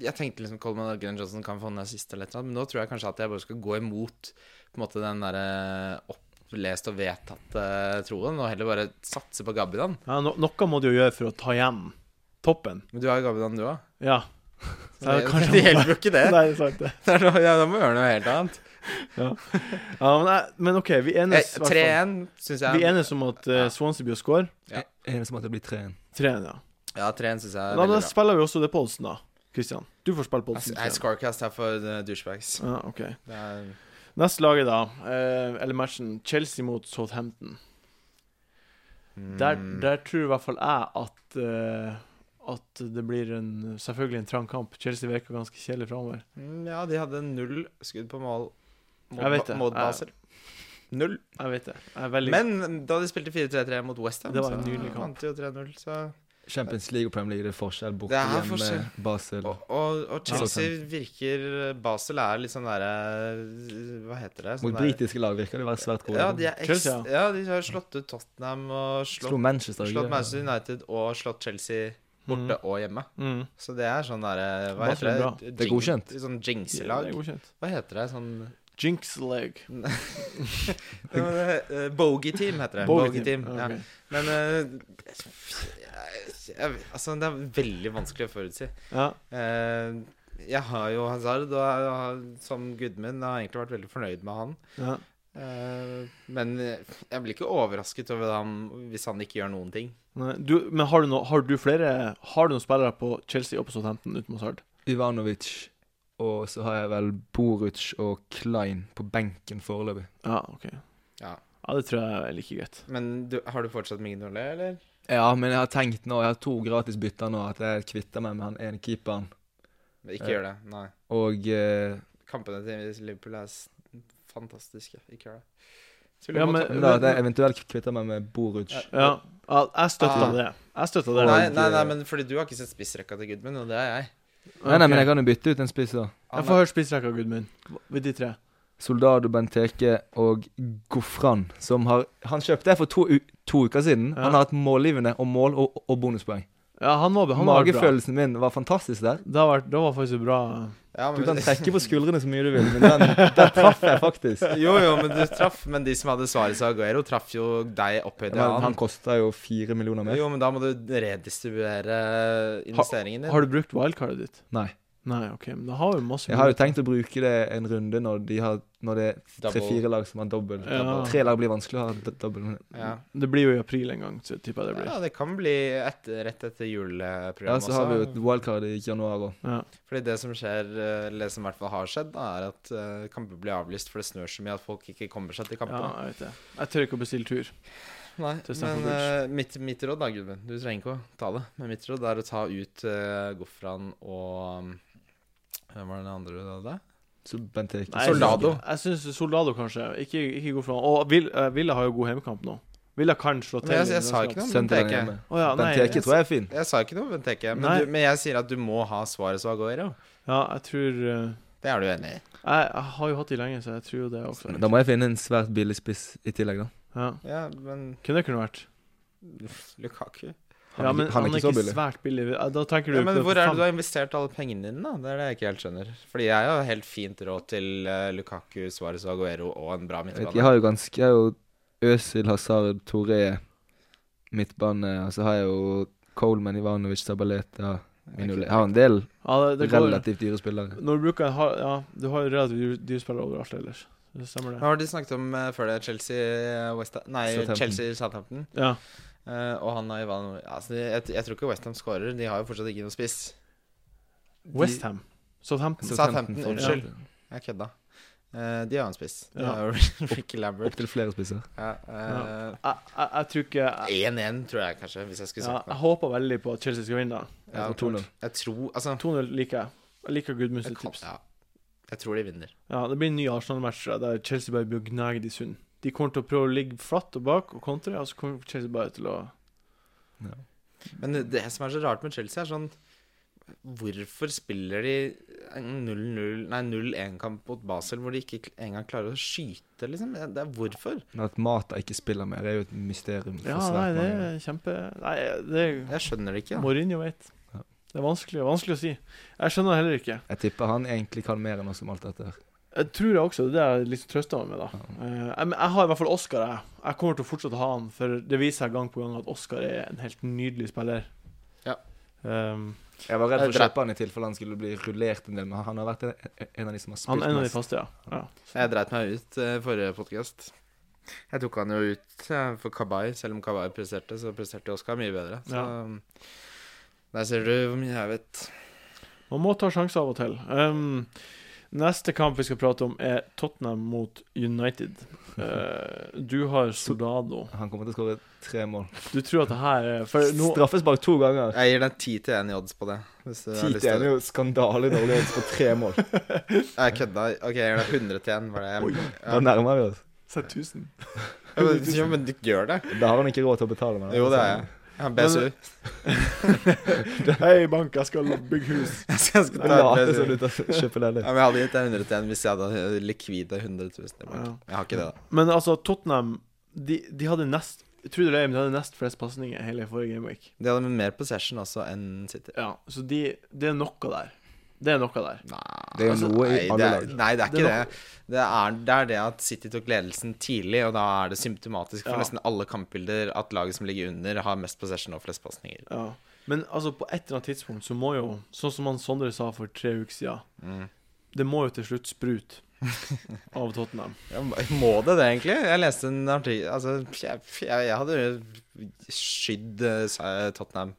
Speaker 3: jeg tenkte liksom Coleman og Glenn Johnson kan få en assist eller noe, men nå tror jeg kanskje at jeg bare skal gå imot på en måte den derre opplest og vedtatt eh, troen, og heller bare satse på Gabidan.
Speaker 1: det. Ja, no, noe må du jo gjøre for å ta hjem toppen.
Speaker 3: Men du har jo Gabidan, du òg.
Speaker 1: Ja. Så jeg kanskje må
Speaker 3: Det
Speaker 1: bare-
Speaker 3: hjelper jo ikke det.
Speaker 1: Nei, det er sant, det.
Speaker 3: Det er noe, ja, da må vi gjøre noe helt annet.
Speaker 1: Ja, men, jeg, men OK, vi
Speaker 3: Eh,
Speaker 1: enes i hvert fall.
Speaker 3: 3-1 syns jeg
Speaker 1: Vi enes om at eh, Swansea blir å score.
Speaker 3: Ja.
Speaker 2: Eneste måte blir 3-1.
Speaker 1: 3-1, ja.
Speaker 3: Ja, 3-1 synes jeg er
Speaker 1: Da,
Speaker 3: veldig
Speaker 1: da
Speaker 3: bra.
Speaker 1: spiller vi også det på oddsen, da. Kristian. Du får spille på
Speaker 3: Jeg,
Speaker 1: oddsen.
Speaker 3: jeg, Scarcast er for eh, douchebags.
Speaker 1: Ja, ok.
Speaker 3: Det er,
Speaker 1: Neste laget, da. Eh, eller matchen. Chelsea mot Southampton. Der,
Speaker 3: Mm.
Speaker 1: der tror i hvert fall jeg at eh, at det blir en, selvfølgelig en trang kamp. Chelsea virker ganske kjedelig framover.
Speaker 3: Mm, Ja, de hadde null skudd på mål mot,
Speaker 1: Jeg vet det.
Speaker 3: mot
Speaker 1: Jeg-
Speaker 3: Basel. Null.
Speaker 1: Jeg vet det. Jeg er veldig
Speaker 3: Men da de spilte 4-3-3 mot Westham,
Speaker 1: Det var en nydelig kamp.
Speaker 3: vant de jo 3-0. Så.
Speaker 2: Champions League og Premier League, det er forskjell. Borte
Speaker 3: Det er
Speaker 2: hjemme,
Speaker 3: forskjell.
Speaker 2: Basel.
Speaker 3: Og, og, og Chelsea
Speaker 1: Sånn.
Speaker 2: Southampton.
Speaker 3: virker Basel er litt sånn derre Hva heter det? Sånn
Speaker 2: Mot britiske lag virker de å være svært gode.
Speaker 3: ja, de er ekst,
Speaker 1: Chelsea,
Speaker 3: ja, de har slått ut Tottenham og
Speaker 2: Slo
Speaker 3: slått,
Speaker 2: Manchester. ikke
Speaker 3: slått
Speaker 2: det?
Speaker 3: Manchester United og slått Chelsea borte og hjemme.
Speaker 1: mm.
Speaker 3: Så det er sånn derre Hva
Speaker 1: Basel er
Speaker 3: heter
Speaker 1: bra.
Speaker 3: det?
Speaker 2: Det er godkjent.
Speaker 3: Sånn
Speaker 1: Ja, det
Speaker 3: jinxelag.
Speaker 1: er godkjent.
Speaker 3: Hva heter det? Sånn
Speaker 1: Jinx leg.
Speaker 3: Eh, Bogey-team heter det.
Speaker 1: Bogey
Speaker 3: Bogey-team.
Speaker 1: team.
Speaker 3: Ja.
Speaker 1: Ok.
Speaker 3: Men eh, jeg, jeg, Altså, det er veldig vanskelig å forutsi.
Speaker 1: Ja.
Speaker 3: Eh, jeg har jo Hazard, og jeg har, som Gudmund jeg har egentlig vært veldig fornøyd med han.
Speaker 1: Ja.
Speaker 3: Eh, men jeg blir ikke overrasket over ham hvis han ikke gjør noen ting.
Speaker 1: Nei, du, men har du, no, har du flere Har du noen spillere på Chelsea og på Southampton uten Hazard?
Speaker 2: Ivanovic. Og så har jeg vel Boruc og Klein på benken foreløpig.
Speaker 1: Ja, ok.
Speaker 3: Ja.
Speaker 1: Ja, det tror jeg er like greit.
Speaker 3: Men du, har du fortsatt Mignolet, eller?
Speaker 2: Ja, men jeg har tenkt nå, jeg har to gratis bytter nå, at jeg kvitter meg med han ene keeperen.
Speaker 3: Ikke
Speaker 2: Eh.
Speaker 3: gjør det. Nei.
Speaker 2: Og eh,
Speaker 3: Kampene til Liverpool er s- fantastiske. Ikke gjør det. Skulle
Speaker 1: Ja,
Speaker 3: du
Speaker 1: men-
Speaker 3: måtte-
Speaker 2: da, at jeg eventuelt kvitter meg med Boruc.
Speaker 3: Ja.
Speaker 1: Ja, ja jeg støtter
Speaker 3: Ah.
Speaker 1: det. Jeg støtter det.
Speaker 3: Nei,
Speaker 2: Og,
Speaker 3: nei, nei,
Speaker 2: eh,
Speaker 3: men fordi du har ikke sett spissrekka til Gudmund, og det har jeg.
Speaker 2: Nei, nei,
Speaker 1: Ok.
Speaker 2: men jeg kan jo bytte ut en spiss, da.
Speaker 1: Jeg får høre spissrekka, Gudmund. Ved de tre.
Speaker 2: Soldado Benteke og Gofran, som har Han kjøpte det for to, u to uker siden.
Speaker 1: Ja.
Speaker 2: Han har hatt målgivende og mål og, og bonuspoeng.
Speaker 1: Ja, han var, han var bra.
Speaker 2: Magefølelsen min var fantastisk der.
Speaker 1: Det var, det var faktisk bra
Speaker 3: Ja,
Speaker 2: Du
Speaker 3: men-
Speaker 2: kan trekke på skuldrene så mye du vil, men den, den traff jeg faktisk.
Speaker 3: Jo, jo, men du traff Men de som hadde Suarez og Aguero, traff jo deg opphøyd i
Speaker 2: Men han
Speaker 3: annen.
Speaker 2: kosta jo fire millioner mer.
Speaker 3: Jo, men da må du redistribuere investeringen din.
Speaker 1: Har du brukt wildcardet ditt?
Speaker 2: Nei.
Speaker 1: Nei, OK, men da har vi masse
Speaker 2: Jeg har jo tenkt å bruke det en runde når, de har, når det er
Speaker 3: Double.
Speaker 2: tre-fire lag som har dobbel.
Speaker 1: Ja.
Speaker 2: Tre lag blir vanskelig å ha d- dobbel.
Speaker 3: Ja.
Speaker 1: Det blir jo i april en gang, så tipper jeg det blir.
Speaker 3: ja, det kan bli et, rett etter
Speaker 2: Ja,
Speaker 3: juleprogrammet
Speaker 2: så har vi jo et wildcard i januar òg.
Speaker 1: Ja.
Speaker 3: Fordi det som skjer, eh, eller som i hvert fall har skjedd, da, er at eh, kamper blir avlyst, for det snør så mye at folk ikke kommer seg til
Speaker 1: ja,
Speaker 3: kampene.
Speaker 1: jeg vet det. Jeg tør ikke å bestille tur.
Speaker 3: Nei,
Speaker 1: Til Stamford
Speaker 3: men eh, mitt, mitt råd da, Gudmund, du trenger ikke å ta det, men mitt råd er å ta ut uh, Gofran og um, Hvem var den andre du hadde?
Speaker 2: Så Bent Eik.
Speaker 1: Nei,
Speaker 3: Soldado.
Speaker 1: Jeg syns Soldado, kanskje. Ikke, ikke god for han. Og Vil- eh, Villa har jo god hjemmekamp nå. Villa kan slå til.
Speaker 3: Men jeg, jeg sa ikke noe om
Speaker 2: Søndag
Speaker 3: Benteke.
Speaker 2: hjemme.
Speaker 1: Å ja, nei.
Speaker 2: Bent Eke tror jeg er fin.
Speaker 3: Jeg sa ikke noe om Benteke, men,
Speaker 1: Nei.
Speaker 3: du- men jeg sier at du må ha svaret som Aguero.
Speaker 1: Ja, jeg tror eh,
Speaker 3: Det er du enig i?
Speaker 1: jeg, jeg har jo hatt de lenge, så jeg tror jo det også.
Speaker 2: Da må jeg finne en svært billig spiss i tillegg, da.
Speaker 1: Ja.
Speaker 3: Ja, men
Speaker 1: Kunne det kunne vært.
Speaker 3: uff, Lukaku
Speaker 2: Han,
Speaker 1: ja,
Speaker 2: er
Speaker 1: men
Speaker 2: ikke- han er ikke så billig.
Speaker 1: svært billig. Ja, Da tenker du
Speaker 3: ja, Men
Speaker 1: på
Speaker 3: hvor er det du
Speaker 1: fem-
Speaker 3: har investert alle pengene dine, da? Det er det jeg ikke helt skjønner. Fordi jeg har helt fint råd til eh, Lukaku, Suárez og Aguero og en bra
Speaker 2: Jeg, vet,
Speaker 3: midtbane.
Speaker 2: jeg har jo ganske Jeg har jo Øzil, Hazard, Toré, midtbane, og så har jeg jo Coleman, Ivanovic, Sabaleta Minole. Jeg har en del
Speaker 1: ja, det, det går.
Speaker 2: relativt dyre spillere.
Speaker 1: Når du bruker en hard Ja, du har jo relativt dyre spillere overalt ellers. Det stemmer,
Speaker 3: Hva
Speaker 1: det.
Speaker 3: var det du snakket om eh, før det? Chelsea eh, West Ham Nei,
Speaker 2: Southampton.
Speaker 3: Chelsea Southampton.
Speaker 1: Ja.
Speaker 3: Eh, og han har Ivan altså, det- jeg, jeg tror ikke Westham skårer. De har jo fortsatt ikke noen spiss.
Speaker 1: Westham. Southampton.
Speaker 3: Southampton,
Speaker 2: får-
Speaker 3: unnskyld. Jeg kødda. Eh, de har en spiss. De
Speaker 1: Ja.
Speaker 3: har jo Ricky Lambert.
Speaker 2: Opptil flere spisser.
Speaker 3: Ja, eh,
Speaker 1: Jeg, jeg, jeg tror ikke jeg,
Speaker 3: 1-1, tror jeg kanskje, hvis jeg skulle
Speaker 1: ja,
Speaker 3: sagt
Speaker 1: jeg
Speaker 3: noe.
Speaker 1: håper veldig på at Chelsea skal vinne. da.
Speaker 3: Ja,
Speaker 2: Og 2-0.
Speaker 3: jeg tror Altså,
Speaker 1: 2-0 liker jeg. Jeg liker Gudmunds
Speaker 3: jeg, kan,
Speaker 1: tips.
Speaker 3: ja, jeg tror de vinner.
Speaker 1: Ja, Det blir en ny Arsenal-match tror jeg, der Chelsea bare blir gnagd i sund. De kommer til å prøve å ligge flatt og bak og kontre, og så kommer Chelsea bare til å
Speaker 3: Men det som er så rart med Chelsea, er sånn Hvorfor spiller de en 0-0 Nei, 0-1-kamp mot Basel hvor de ikke engang klarer å skyte, liksom? Det er hvorfor.
Speaker 2: Men at Mata ikke spiller mer, er jo et mysterium. for
Speaker 1: Ja,
Speaker 2: svært
Speaker 1: nei, det
Speaker 2: mange.
Speaker 1: er kjempe Nei, det er
Speaker 3: Jeg skjønner det ikke. Da.
Speaker 1: Mourinho vet.
Speaker 2: Ja.
Speaker 1: Det er vanskelig, vanskelig å si. Jeg skjønner det heller ikke.
Speaker 2: Jeg tipper han egentlig kan mer enn oss om alt dette her.
Speaker 1: Jeg tror jeg også, det er det jeg liksom trøster meg med, da. Eh, jeg, men jeg har i hvert fall Oscar, jeg. Jeg kommer til å fortsette å ha han, for det viser seg gang på gang at Oscar er en helt nydelig spiller.
Speaker 3: Ja.
Speaker 1: Ehm,
Speaker 2: Jeg var redd for å
Speaker 3: Jeg drep-
Speaker 2: kjøpe han i tilfelle han skulle bli rullert en del, men han har vært en, en av de som
Speaker 1: han
Speaker 2: har spilt
Speaker 1: er en av de
Speaker 2: mest.
Speaker 1: faste, ja. ja.
Speaker 3: Jeg dreit meg ut eh, forrige podkast. Jeg tok han jo ut eh, for Kabay. Selv om Kabay presterte, så presterte Oskar mye bedre. Så der ser du hvor mye jeg vet.
Speaker 1: Man må ta sjanser av og til. Ehm, neste kamp vi skal prate om, er Tottenham mot United. Eh, du har Soldado.
Speaker 2: Han kommer til å skåre tre mål.
Speaker 1: Du tror at det her er For nå
Speaker 2: Straffespark to ganger.
Speaker 3: Jeg gir deg 10 til 1 i odds på det. Hvis du har
Speaker 2: Ti til
Speaker 3: lyst
Speaker 2: en
Speaker 3: til
Speaker 2: er
Speaker 3: det.
Speaker 2: jo skandale dårlig odds på tre mål.
Speaker 3: Jeg kødda. OK, jeg gir deg 100 til 1. Var det jeg
Speaker 2: Da nærmer vi oss.
Speaker 1: Se 1000.
Speaker 3: Ja, men, ja, men du gjør det.
Speaker 2: Da har han sånn- ikke råd til å betale med
Speaker 3: Jo, det er jeg. Jeg har BSU.
Speaker 1: Hei, bank, jeg skal bygge hus.
Speaker 3: Jeg skal, jeg skal
Speaker 2: Det
Speaker 3: ta et
Speaker 2: later som
Speaker 3: BSU.
Speaker 2: du tar- kjøper
Speaker 3: Ja,
Speaker 2: leilighet.
Speaker 3: men jeg hadde gitt deg 100 til 1 hvis jeg hadde likvide 100 000 i banken.
Speaker 1: Ja.
Speaker 3: Jeg har ikke det, da.
Speaker 1: Men altså, Tottenham De, de hadde nest Tror du det, men de hadde nest flest pasninger i hele forrige gameweek.
Speaker 3: De hadde mer possession også enn City.
Speaker 1: Ja, så de Det er noe der. Det er noe der.
Speaker 3: Nei, altså,
Speaker 2: Det er jo noe i
Speaker 3: nei, det
Speaker 2: alle
Speaker 3: er-
Speaker 2: lag.
Speaker 3: Nei, det er
Speaker 1: Det
Speaker 3: ikke
Speaker 1: er
Speaker 3: det. Det er, det er det at City tok ledelsen tidlig, og da er det symptomatisk for
Speaker 1: Ja.
Speaker 3: nesten alle kampbilder at laget som ligger under, har mest possession og flest pasninger.
Speaker 1: Ja. Men altså, på et eller annet tidspunkt så må jo, sånn som han Sondre sa for tre uker siden,
Speaker 3: Mm.
Speaker 1: det må jo til slutt sprute av Tottenham.
Speaker 3: Ja, må det det, egentlig? Jeg leste en artikkel Altså, jeg, jeg, jeg hadde skydd eh, sa- Tottenham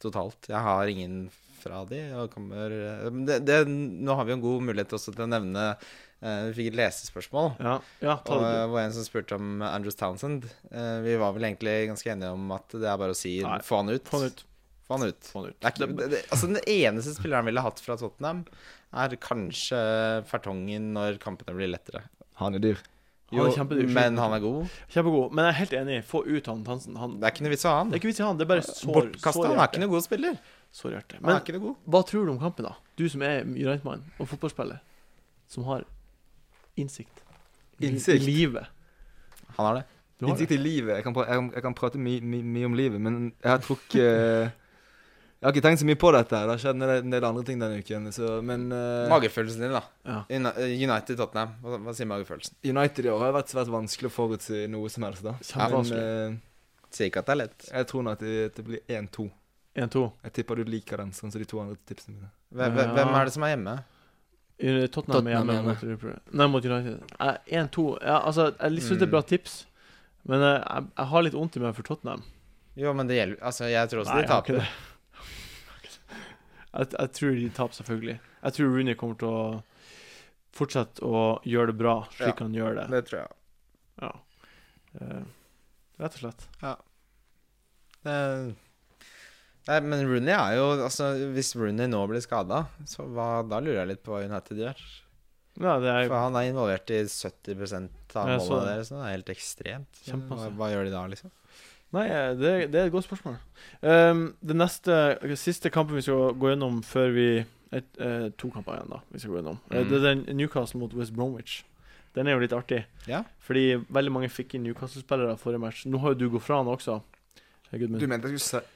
Speaker 3: totalt. Jeg har ingen fra de og kommer eh, men det, det, Nå har vi jo en god mulighet også til å nevne eh, Vi fikk et lesespørsmål.
Speaker 1: Ja, ja ta
Speaker 3: Og
Speaker 1: det.
Speaker 3: eh, var en som spurte om Andrews Townsend. Eh, vi var vel egentlig ganske enige om at det er bare å si
Speaker 1: Nei,
Speaker 3: få han ut.
Speaker 1: Få han ut.
Speaker 3: Få han ut.
Speaker 1: Få han ut.
Speaker 3: Det er ikke, det, det, altså Den eneste spilleren ville hatt fra Tottenham, er kanskje Fertongen når kampene blir lettere.
Speaker 2: Han er dyr.
Speaker 1: Han
Speaker 3: Jo,
Speaker 1: er kjempedyr.
Speaker 3: men han er god.
Speaker 1: Kjempegod. Men jeg er helt enig. Få ut han Tansen. Han,
Speaker 3: Det er ikke noe vits å ha han.
Speaker 1: det er ikke vits i han, det er bare sår,
Speaker 3: Bortkasta.
Speaker 1: sår
Speaker 3: Han er ikke
Speaker 1: hjerte.
Speaker 3: noen god spiller.
Speaker 1: Sår hjerte.
Speaker 3: Han er
Speaker 1: Men
Speaker 3: ikke noe god.
Speaker 1: hva tror du om kampen, da? Du som er United-mann og fotballspiller, som har innsikt i-
Speaker 2: Innsikt?
Speaker 1: i livet.
Speaker 3: Han har det.
Speaker 1: Du har
Speaker 2: Innsikt
Speaker 1: det.
Speaker 2: i livet. Jeg kan, pra jeg, kan- jeg kan prate mye my, my om livet, men jeg har trukket eh, Jeg har ikke tenkt så mye på dette. her. Det har skjedd en del- en del andre ting denne uken. Så, men eh,
Speaker 3: Magefølelsen din, da.
Speaker 1: Ja.
Speaker 3: Uni- United Tottenham. Hva, hva sier magefølelsen?
Speaker 2: United i år har vært svært vanskelig å forutsi noe som helst. da. Men
Speaker 1: Kjempevanskelig.
Speaker 2: eh,
Speaker 3: Sier ikke at det er lett.
Speaker 2: jeg tror nå at det, det blir 1-2.
Speaker 1: 1-2.
Speaker 2: Jeg tipper du liker den, sånn som de to andre tipsene mine.
Speaker 3: Hvem,
Speaker 1: Ja.
Speaker 3: hvem er det som er hjemme?
Speaker 1: Tottenham, Tottenham er hjemme
Speaker 2: hjemme.
Speaker 1: mot Liverpool. Nei, mot United. Eh, 1-2. Ja, altså, jeg syns det er
Speaker 3: Mm.
Speaker 1: bra tips, men eh, jeg, jeg har litt vondt i meg for Tottenham.
Speaker 3: Jo, men det gjelder Altså, jeg tror også
Speaker 1: Nei,
Speaker 3: de
Speaker 1: jeg har ikke
Speaker 3: taper.
Speaker 1: det. Jeg, jeg tror de taper, selvfølgelig. Jeg tror Rooney kommer til å fortsette å gjøre det bra, slik
Speaker 3: Ja.
Speaker 1: han gjør det.
Speaker 3: Det tror jeg.
Speaker 1: Ja. Eh, rett og slett.
Speaker 3: Det- Nei, men Rooney er jo Altså, hvis Rooney nå blir skada, så hva, da lurer jeg litt på hva United gjør.
Speaker 1: Ja, det er
Speaker 3: For han er involvert i 70 av
Speaker 1: Ja, jeg så
Speaker 3: målene
Speaker 1: det.
Speaker 3: deres, så det er helt ekstremt. Så
Speaker 1: Kjempe,
Speaker 3: Hva,
Speaker 1: altså.
Speaker 3: hva gjør de da, liksom?
Speaker 1: Nei, eh, det, det er et godt spørsmål. Ehm, det neste, siste kampen vi skal gå gjennom før vi et, eh, To kamper igjen, da. Vi skal gå gjennom. Eh,
Speaker 3: Mm.
Speaker 1: Det er den Newcastle mot West Bromwich. Den er jo litt artig,
Speaker 3: Ja.
Speaker 1: fordi veldig mange fikk inn Newcastle-spillere forrige match. Nå har jo du gått fra han også. Eh, Gudmund.
Speaker 2: Du mente jeg skulle se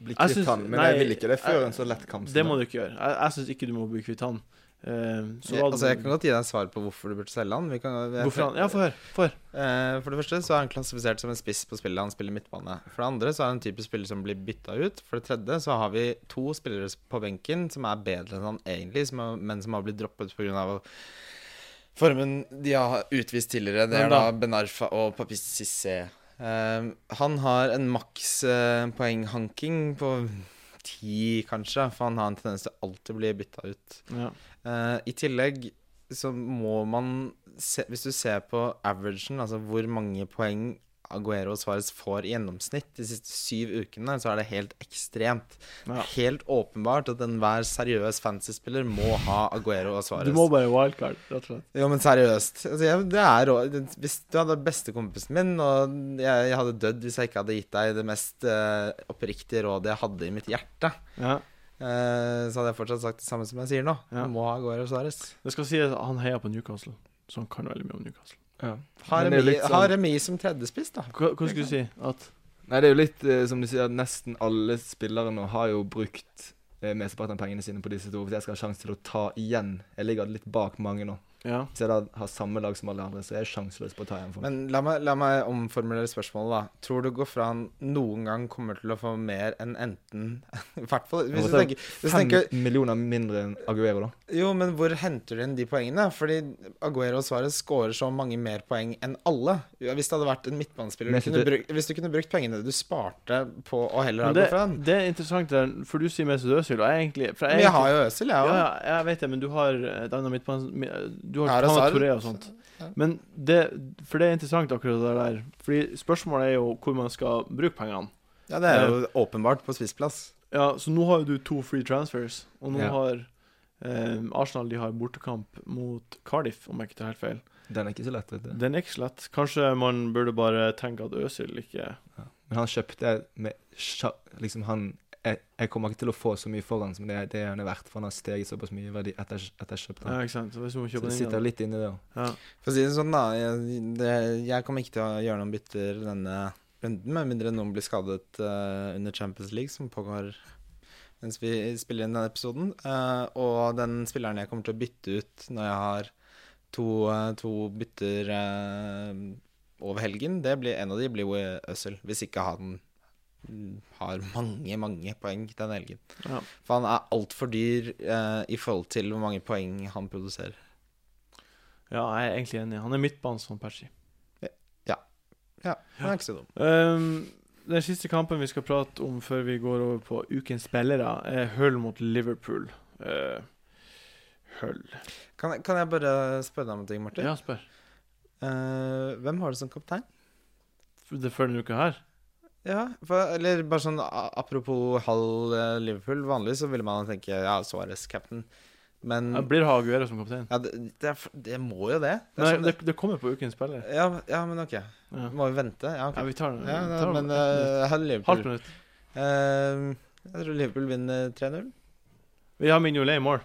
Speaker 2: bli
Speaker 1: Jeg
Speaker 2: kvitt
Speaker 1: syns-
Speaker 2: han, men
Speaker 1: nei,
Speaker 2: jeg vil ikke det før
Speaker 1: jeg-
Speaker 2: en så lett kamp. som
Speaker 1: Det må
Speaker 2: den.
Speaker 1: du ikke gjøre. Jeg, jeg syns ikke du må bli kvitt han. Ehm, så
Speaker 3: Jeg,
Speaker 1: var det-
Speaker 3: altså, jeg kan godt gi deg svar på hvorfor du burde selge han. Vi kan, jeg,
Speaker 1: Hvorfor han? Ja, få høre. Få høre.
Speaker 3: Eh, For det første så er han klassifisert som en spiss på spillet han spiller midtbane. For det andre så er han en type spiller som blir bytta ut. For det tredje så har vi to spillere på benken som er bedre enn han egentlig, som har, men som har blitt droppet pga. formen de har utvist tidligere. Det
Speaker 1: Hvem
Speaker 3: er da Benarfa og Papis Cissé. Eh, han har en maks eh, poenghanking på ti, kanskje, for han har en tendens til å alltid bli bytta ut.
Speaker 1: Ja.
Speaker 3: Eh, I tillegg så må man se, Hvis du ser på averagen, altså hvor mange poeng Aguero og Suárez får i gjennomsnitt de siste syv ukene, så er det helt ekstremt.
Speaker 1: Ja.
Speaker 3: Helt åpenbart at enhver seriøs fantasy-spiller må ha Aguero og Suárez.
Speaker 1: Du må bare wildcard, rett og slett.
Speaker 3: Jo, men seriøst. Altså, jeg, det er rå. det- Hvis du hadde vært bestekompisen min, og jeg, jeg hadde dødd hvis jeg ikke hadde gitt deg det mest eh, oppriktige rådet jeg hadde i mitt hjerte,
Speaker 1: Ja.
Speaker 3: eh, så hadde jeg fortsatt sagt det samme som jeg sier nå.
Speaker 1: Ja.
Speaker 3: Du må ha Aguero og Suárez.
Speaker 1: Det skal sies at han heier på Newcastle, så han kan veldig mye om Newcastle.
Speaker 2: Ja.
Speaker 3: Har
Speaker 2: Men det er
Speaker 3: remis
Speaker 2: litt sånn-
Speaker 3: ha remis som tredjespiss, da.
Speaker 1: Hva, hva skulle du si? At
Speaker 2: Nei, det er jo litt eh, som du sier, at nesten alle spillere nå har jo brukt eh, mesteparten av pengene sine på disse to. Hvis jeg skal ha sjanse til å ta igjen Jeg ligger litt bak mange nå.
Speaker 1: Ja.
Speaker 2: Hvis jeg da har samme lag som alle andre, så er jeg sjanseløs på å ta igjen for meg.
Speaker 3: Men la meg, la meg omformulere spørsmålet, da. Tror du Gofran noen gang kommer til å få mer enn enten I hvert fall hvis du
Speaker 2: Ja,
Speaker 3: tenker, hvis du
Speaker 2: Fem
Speaker 3: tenker
Speaker 2: millioner mindre enn Aguero, da.
Speaker 3: Jo, men hvor henter du inn de poengene? Fordi Aguero og Suárez scorer så mange mer poeng enn alle. Ja, Hvis det hadde vært en midtbanespiller
Speaker 2: Men
Speaker 3: du
Speaker 2: jeg
Speaker 3: kunne
Speaker 2: synes
Speaker 3: brukt, Hvis du kunne brukt pengene du sparte på å
Speaker 1: Men
Speaker 3: heller ha
Speaker 1: det,
Speaker 3: Gofran
Speaker 1: det er interessant, der, for du sier Mesut Özil, og jeg egentlig for
Speaker 3: Men jeg har jo Øzil,
Speaker 1: ja,
Speaker 3: jeg
Speaker 1: ja,
Speaker 3: òg.
Speaker 1: jeg vet det, men du har eh, den av midtbanen- mi- Du har
Speaker 3: Er det
Speaker 1: Tana
Speaker 3: Sar?
Speaker 1: Touré og sånt.
Speaker 3: Ja.
Speaker 1: Men det, for det er interessant, akkurat det der. Fordi spørsmålet er jo hvor man skal bruke pengene.
Speaker 3: Ja, det er jo åpenbart på spissplass.
Speaker 1: Ja, Så nå har jo du to free transfers, og nå
Speaker 2: Ja.
Speaker 1: har eh, Arsenal de har bortekamp mot Cardiff, om jeg ikke tar helt feil.
Speaker 2: Den er ikke så lett, vet du.
Speaker 1: Den er ikke så lett. Kanskje man burde bare tenke at Øsil ikke
Speaker 2: Men han kjøpte jeg med sja- Liksom, han jeg, jeg kommer ikke til å få så mye for han som det, det han er verdt, for han har steget såpass mye i verdi etter jeg- etter jeg kjøpte
Speaker 1: Ja,
Speaker 2: han.
Speaker 1: ikke sant. Så hvis du må
Speaker 2: Så
Speaker 1: kjøpe
Speaker 2: det
Speaker 1: den
Speaker 2: sitter
Speaker 1: igjen
Speaker 2: litt inni det òg.
Speaker 1: ja.
Speaker 3: For å si det sånn, da. Jeg, det, jeg kommer ikke til å gjøre noen bytter denne runden, med mindre noen blir skadet eh, under Champions League, som pågår mens vi spiller inn denne episoden. Eh, og den spilleren jeg kommer til å bytte ut når jeg har to, eh, to bytter eh, over helgen, det blir, en av de blir jo Øzil, hvis ikke han mm, har mange, mange poeng denne helgen.
Speaker 1: Ja.
Speaker 3: For han er altfor dyr eh, i forhold til hvor mange poeng han produserer.
Speaker 1: ja, jeg er egentlig enig. Han er midtbanen som Persi.
Speaker 3: Ja, han er ikke så dum.
Speaker 1: Ehm, den siste kampen vi skal prate om før vi går over på ukens spillere, er Hull mot Liverpool. Eh, Hull
Speaker 3: Kan, jeg- kan jeg bare spørre deg om en ting, Martin?
Speaker 1: Ja, spør.
Speaker 3: Eh, hvem har du som kaptein?
Speaker 1: For Det før denne uka her?
Speaker 3: Ja, for, eller bare sånn a- apropos halv eh, Liverpool. Vanligvis så ville man tenke ja, Suárez cap'n, men
Speaker 1: Jeg blir å ha Aguero som kaptein.
Speaker 3: ja, det, det, er, f- det må jo det. det,
Speaker 1: Nei,
Speaker 3: er sånn,
Speaker 1: Mm. det, det kommer på ukens spiller.
Speaker 3: ja, ja, men ok.
Speaker 1: Ja,
Speaker 3: Må vi vente? Ja,
Speaker 1: ja
Speaker 3: ok.
Speaker 1: vi tar den.
Speaker 3: Ja,
Speaker 1: vi
Speaker 3: da,
Speaker 1: tar den.
Speaker 3: men eh, halv
Speaker 1: Halvt
Speaker 3: Liverpool.
Speaker 1: minutt.
Speaker 3: Eh, jeg tror Liverpool vinner 3-0.
Speaker 1: Vi har Mignolet i mål.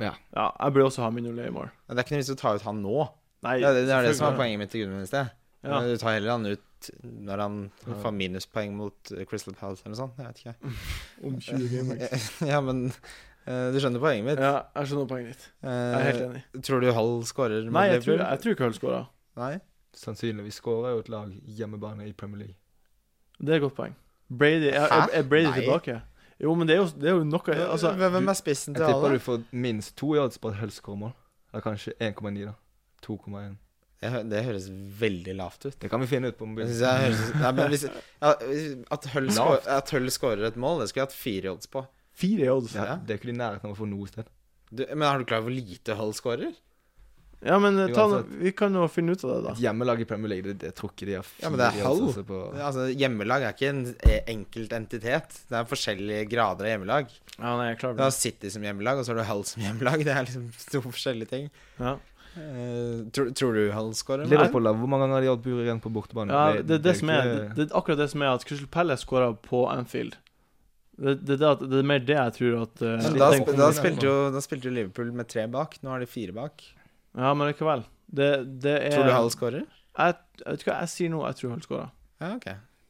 Speaker 2: Ja.
Speaker 1: ja. Jeg burde også ha Mignolet i mål.
Speaker 3: Men Det er ikke noe vits å ta ut han nå.
Speaker 1: Nei,
Speaker 3: Ja, det, det er det
Speaker 1: selvfølgelig.
Speaker 3: som er poenget mitt til Gudmund i sted.
Speaker 1: Ja.
Speaker 3: Du tar heller han ut når han
Speaker 2: Ja.
Speaker 3: får minuspoeng mot eh, Crystal Palace eller noe sånt. Jeg vet ikke.
Speaker 1: Om 20 gamer.
Speaker 3: ja, men eh, du skjønner poenget mitt.
Speaker 1: Ja, jeg skjønner poenget ditt. Jeg er helt
Speaker 3: Eh,
Speaker 1: enig.
Speaker 3: tror du Hall skårer? mot
Speaker 1: Nei, jeg tror,
Speaker 3: Liverpool?
Speaker 1: jeg tror ikke Hull skåra.
Speaker 3: Nei?
Speaker 2: Sannsynligvis skårer jo et lag hjemmebane i Premier League.
Speaker 1: Det er et godt poeng. Brady er, er, er Brady
Speaker 3: Nei.
Speaker 1: tilbake? Jo, men det er jo, det er jo noe altså,
Speaker 3: Hvem er spissen
Speaker 2: Jeg
Speaker 3: til
Speaker 2: tipper
Speaker 3: alle?
Speaker 2: du får minst to yards på et høllskårmål. Eller kanskje 1,9, da. 2,1.
Speaker 3: Jeg hø- Det høres veldig lavt ut.
Speaker 2: Det kan vi finne ut på
Speaker 3: Jeg
Speaker 2: mobilen.
Speaker 3: synes jeg høres, nei, men hvis, ja, hvis- at Hull skå- at Hull skårer et mål, det skulle jeg hatt fire odds på.
Speaker 1: fire i odds. Ja.
Speaker 2: Ja, det er ikke de i nærheten av å få noe sted.
Speaker 3: Du, men er du klar over hvor lite Hull skårer?
Speaker 1: men eh, ta,
Speaker 2: Uansett.
Speaker 1: vi kan jo finne ut av det, da.
Speaker 2: Et hjemmelag i Premier League, det, det tror ikke de har
Speaker 3: Ja, men det er
Speaker 2: fire
Speaker 3: halv.
Speaker 2: yards, altså, på-
Speaker 3: Altså, hjemmelag er ikke en e- enkelt entitet. Det er forskjellige grader av hjemmelag.
Speaker 1: Ja, nei, jeg klarer
Speaker 3: Du har City som hjemmelag, og så har du Hull som hjemmelag. Det er liksom to forskjellige ting.
Speaker 1: Ja.
Speaker 3: Eh, tror, tror du Hull skårer?
Speaker 1: Liverpool.
Speaker 2: Liverpool, da. Hvor mange ganger har de hatt buret igjen på
Speaker 3: Sånn,
Speaker 2: bortebane?
Speaker 1: Ja, det, det,
Speaker 2: jo
Speaker 1: som er, det,
Speaker 2: ikke-
Speaker 1: det er akkurat det som er at Crystal Palace skåra på Anfield. Det, det, er det, at, det er mer det jeg tror at eh,
Speaker 3: Men
Speaker 2: Litt
Speaker 3: da,
Speaker 1: tenk-
Speaker 3: sp
Speaker 2: tenkt-
Speaker 3: da, spilte jo, da spilte jo Liverpool med tre bak. Nå har de fire bak.
Speaker 1: Ja, men likevel. Det, det er
Speaker 3: Tror du Hull skårer?
Speaker 1: Jeg, jeg vet ikke hva jeg sier nå, jeg tror Hull skåra.
Speaker 3: Ja, ok.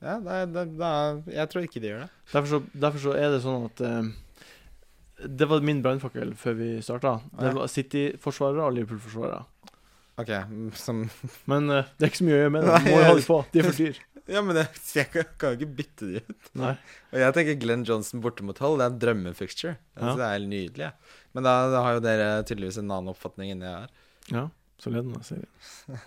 Speaker 3: Ja, da, da, da, jeg tror ikke de gjør det.
Speaker 1: Derfor så, derfor så er det sånn at eh, Det var min brannfakkel før vi starta. Det
Speaker 3: Ja.
Speaker 1: var City-forsvarere og Liverpool-forsvarere.
Speaker 3: Ok, mm, som
Speaker 1: Men eh, det er ikke så mye å gjøre med det. Du må
Speaker 3: Nei,
Speaker 1: jo ha de på. De er for dyr.
Speaker 3: Ja, men jeg, jeg kan- kan jo ikke bytte de ut.
Speaker 1: Nei.
Speaker 3: Og jeg tenker Glenn Johnson borte mot Hull, det er en drømmefixture. Jeg
Speaker 1: Ja.
Speaker 3: synes Det er helt nydelig. jeg. Men da, da har jo dere tydeligvis en annen oppfatning enn jeg har.
Speaker 1: Ja, så leder den serien.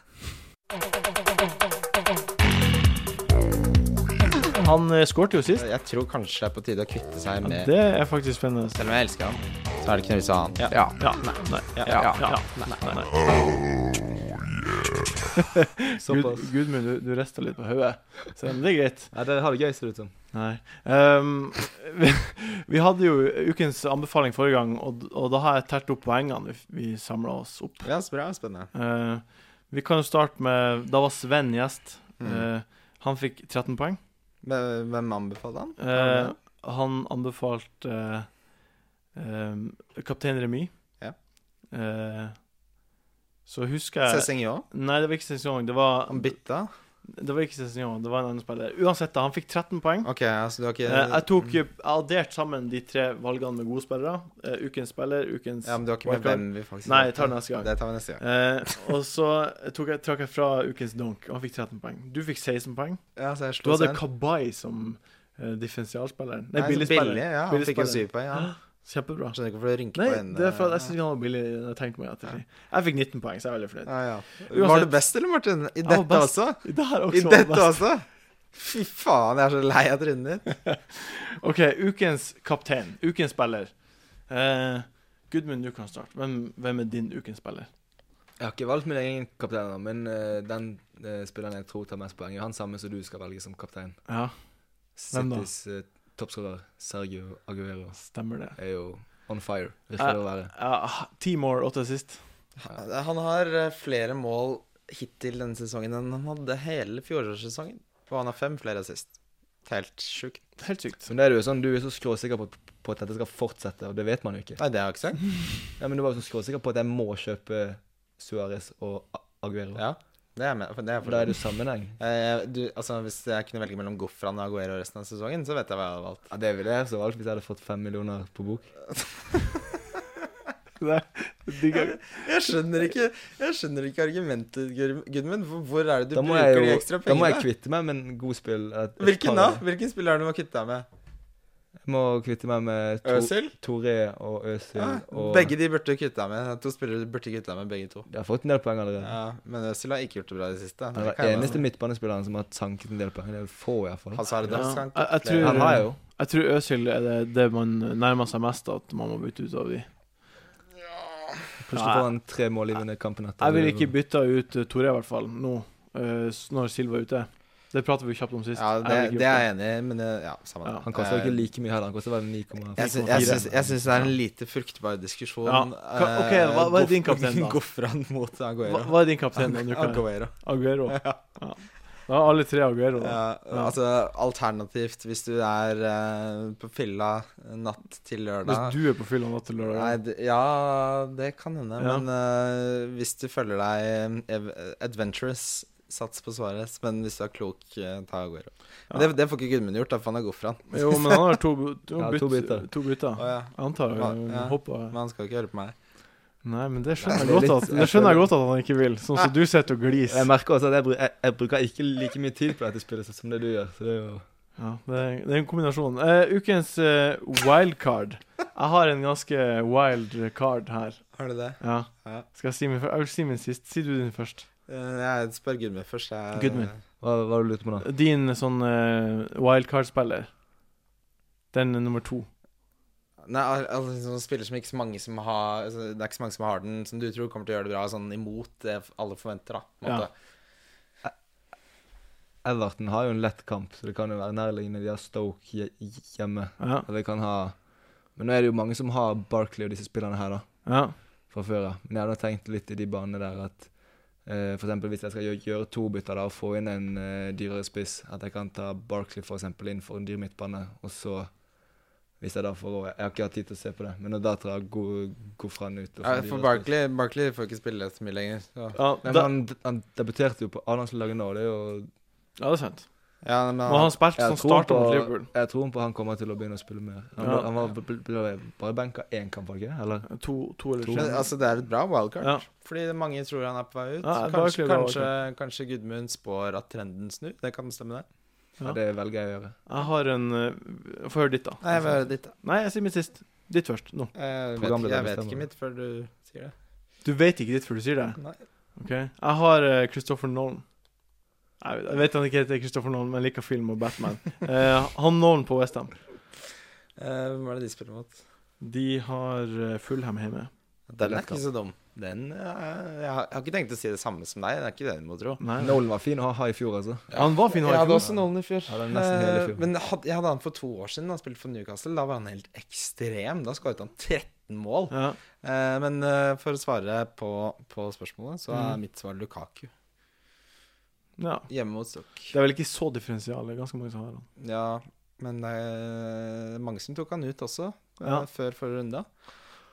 Speaker 1: Han eh, skårte jo sist.
Speaker 3: Jeg tror kanskje det er på tide å kvitte seg
Speaker 1: Ja,
Speaker 3: med
Speaker 1: det er faktisk spennende.
Speaker 3: Selv om jeg elsker han, så er det ikke noe vits i å ha han.
Speaker 1: Ja. Ja. Nei. Nei.
Speaker 3: Ja.
Speaker 1: Ja. Ja. Nei. Nei. Gud,
Speaker 2: Såpass.
Speaker 1: Gudmund, du, du rister litt på hodet. Så men det er greit.
Speaker 2: Nei, det har det gøy, ser det ut som.
Speaker 1: Nei. Ehm, vi, vi hadde jo ukens anbefaling forrige gang, og, og da har jeg tært opp poengene vi, vi samla oss opp.
Speaker 3: Ja, så bra. Spennende.
Speaker 1: Eh, vi kan jo starte med Da var Sven gjest.
Speaker 3: Mm.
Speaker 1: Eh, han fikk 13 poeng.
Speaker 3: Men Hvem anbefaler han?
Speaker 1: Eh, han anbefalte eh, eh, Kaptein Remy.
Speaker 3: Ja.
Speaker 1: Eh, så husker jeg
Speaker 3: Cézinho?
Speaker 1: Nei, det var ikke Cézinho. Det, var-
Speaker 3: Han bytta?
Speaker 1: det var ikke Cézinho, det var en annen spiller. Uansett, da, han fikk 13 poeng.
Speaker 3: Ok, altså du har ikke
Speaker 1: Eh, jeg tok Jeg adderte sammen de tre valgene med gode spillere. Eh, ukens spiller, ukens
Speaker 3: Ja, men du har ikke med
Speaker 1: wildcard.
Speaker 3: hvem vi faktisk
Speaker 1: Nei, jeg tar det neste gang.
Speaker 3: Det tar vi neste gang.
Speaker 1: Eh, og så tok jeg, trakk jeg fra ukens donk, og han fikk 13 poeng. Du fikk 16 poeng.
Speaker 3: Ja, så jeg
Speaker 1: Du
Speaker 3: slo
Speaker 1: hadde
Speaker 3: Svein.
Speaker 1: Kabay som eh, differensialspiller. Nei,
Speaker 3: Nei, så
Speaker 1: billigspiller.
Speaker 3: Billig, ja. Han fikk jo
Speaker 1: Billigspiller.
Speaker 3: syv poeng. ja.
Speaker 1: Kjempebra.
Speaker 3: Skjønner ikke hvorfor du rynker
Speaker 1: Nei,
Speaker 3: på eh, øynene.
Speaker 1: det er for at jeg syns han var billig. Jeg tenkte meg at jeg, jeg fikk 19 poeng, så jeg er veldig fornøyd.
Speaker 3: Ja, ja.
Speaker 1: Uansett.
Speaker 3: Var du best, eller, Martin? I
Speaker 1: var
Speaker 3: dette
Speaker 1: best.
Speaker 3: også?
Speaker 1: Det her er
Speaker 3: I
Speaker 1: også
Speaker 3: dette
Speaker 1: best.
Speaker 3: også? Fy faen, jeg er så lei av trynet ditt.
Speaker 1: OK, ukens kaptein. Ukens spiller. Eh, Gudmund, du kan starte. Hvem, hvem er din ukens spiller?
Speaker 2: Jeg har ikke valgt min egen kaptein, da, men eh, den eh, spilleren jeg tror tar mest poeng, er han samme som du skal velge som kaptein.
Speaker 1: Ja, Hvem da?
Speaker 2: Citys uh, toppskårer Sergio Aguero
Speaker 1: stemmer det.
Speaker 2: er jo on fire,
Speaker 1: Eh,
Speaker 2: virker det å være.
Speaker 1: Ja, Ti more, åtte sist.
Speaker 3: Han har eh, flere mål hittil denne sesongen enn han hadde hele fjorårssesongen. Og han har fem flere sist. Helt sjukt.
Speaker 1: Helt sykt.
Speaker 2: Men det er jo sånn, du er så skråsikker på, på at dette skal fortsette, og det vet man jo ikke.
Speaker 3: Nei, det har jeg ikke sagt.
Speaker 2: Ja, men du var jo så skråsikker på at jeg må kjøpe Suárez og A- Aguero.
Speaker 3: Ja, det er jeg med. for Det er
Speaker 2: For da
Speaker 3: for
Speaker 2: er det jo sammenheng.
Speaker 3: Eh, du, altså, hvis jeg kunne velge mellom Goffran og Aguero resten av sesongen, så vet jeg hva jeg hadde valgt.
Speaker 2: Ja, Det ville jeg så valgt hvis jeg hadde fått fem millioner på bok.
Speaker 1: Nei, digger.
Speaker 3: Jeg skjønner ikke, jeg skjønner ikke argumentet, Gur- Gudmund. Hvor- Hvor er det du
Speaker 2: Da må
Speaker 3: bruker
Speaker 2: jeg
Speaker 3: de
Speaker 2: jo
Speaker 3: ekstra
Speaker 2: da må jeg
Speaker 3: pengene?
Speaker 2: kvitte meg med en god spill. et- et
Speaker 3: Hvilken da?
Speaker 2: par-
Speaker 3: Hvilken spiller er det du må kutte deg med?
Speaker 2: Jeg må kvitte meg med to,
Speaker 3: Øsil?
Speaker 2: Toré og Øsil.
Speaker 3: Ja,
Speaker 2: og
Speaker 3: Begge de burde du kutte deg med. To spillere du burde kutte deg med, begge to.
Speaker 2: Jeg har fått en del poeng allerede.
Speaker 3: Ja, men Øzil har ikke gjort det bra i det siste.
Speaker 2: Han er
Speaker 3: kan
Speaker 2: den
Speaker 3: jeg
Speaker 2: eneste
Speaker 3: bare si.
Speaker 2: midtbanespilleren som har sanket en del poeng. Det Mm. er få, i hvert fall.
Speaker 3: Hazard
Speaker 1: Ja.
Speaker 3: har sanket
Speaker 1: Jeg- jeg
Speaker 3: flere.
Speaker 1: tror-
Speaker 2: Han har jo.
Speaker 1: Jeg tror Øsil er det, det man nærmer seg mest at man må bytte ut av de.
Speaker 2: Plutselig får han tre mål i denne kampen. etter.
Speaker 1: Jeg vil ikke bytte ut eh, Tore, i hvert fall, nå, eh, s- når Silva er ute. Det pratet vi jo kjapt om sist.
Speaker 3: Ja,
Speaker 1: Jeg
Speaker 3: det,
Speaker 1: vil ikke
Speaker 3: det er
Speaker 1: bytte.
Speaker 3: jeg enig i, men eh, ja, samme
Speaker 1: Ja.
Speaker 3: det.
Speaker 2: Han koster
Speaker 3: Eh,
Speaker 2: ikke like mye heller. Han koster vel
Speaker 3: jeg
Speaker 2: 9,5.
Speaker 3: syns- jeg syns- jeg syns det er en lite fruktbar diskusjon. eh,
Speaker 1: Ja. Ka- ok, hva- hva er din kaptein da?
Speaker 3: Goffran mot Aguero.
Speaker 1: hva, hva er din kaptein denne uka?
Speaker 3: Aguero.
Speaker 1: Aguero. Ja. Da er alle tre Aguero. Da.
Speaker 3: Ja, altså alternativt, hvis du er eh, på fylla natt til lørdag
Speaker 1: Hvis du er på fylla natt til
Speaker 3: Nei,
Speaker 1: lørdag.
Speaker 3: det, ja, det kan hende.
Speaker 1: Ja.
Speaker 3: Men eh, hvis du føler deg ev adventurous, sats på Suárez. Men hvis du er klok, eh, ta Aguero. Men
Speaker 1: Ja.
Speaker 3: det, det får ikke Gudmund gjort, da, for han er god for han.
Speaker 1: Jo, men han har to, bu- to,
Speaker 2: Ja,
Speaker 1: bytt,
Speaker 2: to bytter.
Speaker 1: to bytter.
Speaker 3: Å, ja.
Speaker 1: Jeg antar
Speaker 3: Hva-
Speaker 1: hun
Speaker 3: ja.
Speaker 1: hopper
Speaker 3: Men han skal ikke høre på meg.
Speaker 1: Nei, men det skjønner
Speaker 2: Nei,
Speaker 1: jeg
Speaker 2: det
Speaker 1: godt
Speaker 2: er litt-
Speaker 1: at
Speaker 2: jeg
Speaker 1: Det skjønner jeg
Speaker 2: føler-
Speaker 1: godt at han ikke vil. Sånn som du sitter og gliser.
Speaker 2: Jeg merker også at jeg, bru- jeg, jeg bruker ikke like mye tid på dette spillet som det du gjør. Så det er jo
Speaker 1: Ja, det, er- det er en kombinasjon. Eh, ukens eh, wildcard. Jeg har en ganske wild card her.
Speaker 3: Har du det?
Speaker 1: Ja.
Speaker 3: Ja.
Speaker 1: Skal jeg si min, før- jeg vil si min sist? Si du din først.
Speaker 3: Eh, Jeg spør Gudmund først. Jeg,
Speaker 1: Gudmund.
Speaker 2: Hva, hva du lurte på nå?
Speaker 1: Din sånn eh, wildcard-spiller. Den er nummer to.
Speaker 3: Nei, al- altså sånn spiller som ikke så mange som har altså, Det er ikke så mange som har den, som du tror kommer til å gjøre det bra, sånn imot det alle forventer, da. På en
Speaker 1: Ja.
Speaker 3: måte.
Speaker 2: Everton har jo en lett kamp, så det kan jo være nærliggende. De har Stoke hje- hjemme.
Speaker 1: Ja.
Speaker 2: Og de kan ha Men nå er det jo mange som har Barkley og disse spillerne her, da.
Speaker 1: ja.
Speaker 2: fra før av. Men jeg hadde tenkt litt i de banene der at eh, for eksempel hvis jeg skal gjøre, gjøre to bytter da, og få inn en eh, dyrere spiss, at jeg kan ta Barkley for eksempel inn for en dyr midtbane, og så hvis jeg da får råd Jeg har ikke hatt tid til å se på det, men når da tar jeg Go- Gofran ut. og får
Speaker 3: Ja,
Speaker 2: en dyrere
Speaker 3: for
Speaker 2: spiss.
Speaker 1: altså.
Speaker 3: Barkley, Barkley får ikke spille så mye lenger. Så.
Speaker 1: Ja,
Speaker 2: Nei, men
Speaker 1: da,
Speaker 2: han, han debuterte jo på A-landslaget nå, det er jo
Speaker 1: ja, det er sant.
Speaker 3: Ja, men
Speaker 1: Må ha
Speaker 3: han,
Speaker 1: spilt
Speaker 2: jeg
Speaker 1: som
Speaker 2: tror
Speaker 1: starter mot
Speaker 2: på-
Speaker 1: Liverpool.
Speaker 2: Jeg tror på han kommer til å begynne å spille mer. Han,
Speaker 1: Ja.
Speaker 2: ble, han var, ble, ble bare benka én kamp, var det ikke? Eller?
Speaker 1: To, to eller
Speaker 2: To.
Speaker 1: tre.
Speaker 3: men, altså, det er et bra wildcard.
Speaker 1: Ja.
Speaker 3: Fordi mange tror han er på vei ut.
Speaker 1: Ja, Barkley er
Speaker 3: kanskje, kanskje, kanskje Gudmund spår at trenden snur. Det kan stemme, det.
Speaker 1: Ja.
Speaker 2: Ja. Det velger jeg å gjøre.
Speaker 1: Jeg har en eh, Få høre ditt, da.
Speaker 3: Nei, jeg vil høre ditt, da.
Speaker 1: Nei, jeg sier mitt sist. Ditt først. Nå.
Speaker 3: Jeg vet,
Speaker 2: Programleder
Speaker 3: ikke- jeg vet
Speaker 2: bestemmer.
Speaker 3: ikke mitt før du sier det.
Speaker 1: Du vet ikke ditt før du sier det?
Speaker 3: Nei.
Speaker 1: Ok. Jeg har eh, Christopher Nolan. Jeg vet- jeg vet han ikke heter Christopher Nolan, men jeg liker film og Batman. Eh, han Nolan på Westham.
Speaker 3: Eh, Hvem er det de spiller mot?
Speaker 1: De har eh, Fulham hjemme.
Speaker 3: Den er ikke så dum. Den eh, jeg, har, jeg har ikke tenkt å si det samme som deg. Det er ikke det du må tro.
Speaker 1: Nei.
Speaker 2: Nolan var fin å ha ha i fjor, altså.
Speaker 1: Ja, Han var fin å
Speaker 3: Jeg
Speaker 1: ha i
Speaker 3: hadde
Speaker 1: fjor.
Speaker 3: også Nolan i fjor.
Speaker 2: Ja, det er nesten hele
Speaker 3: Eh,
Speaker 2: fjor.
Speaker 3: Men jeg hadde, jeg hadde han for to år siden. Han spilte for Newcastle. Da var han helt ekstrem. Da skåret han 13 mål.
Speaker 1: Ja.
Speaker 3: Eh, men eh, for å svare på, på spørsmålet, så er
Speaker 1: Mm.
Speaker 3: mitt svar Lukaku.
Speaker 1: ja.
Speaker 3: Hjemme mot Stoke.
Speaker 1: Det er vel ikke så differensial. Det er ganske mange som har han.
Speaker 3: Ja, men det er mange som tok han ut også, eh,
Speaker 1: Ja.
Speaker 3: før forrige runde.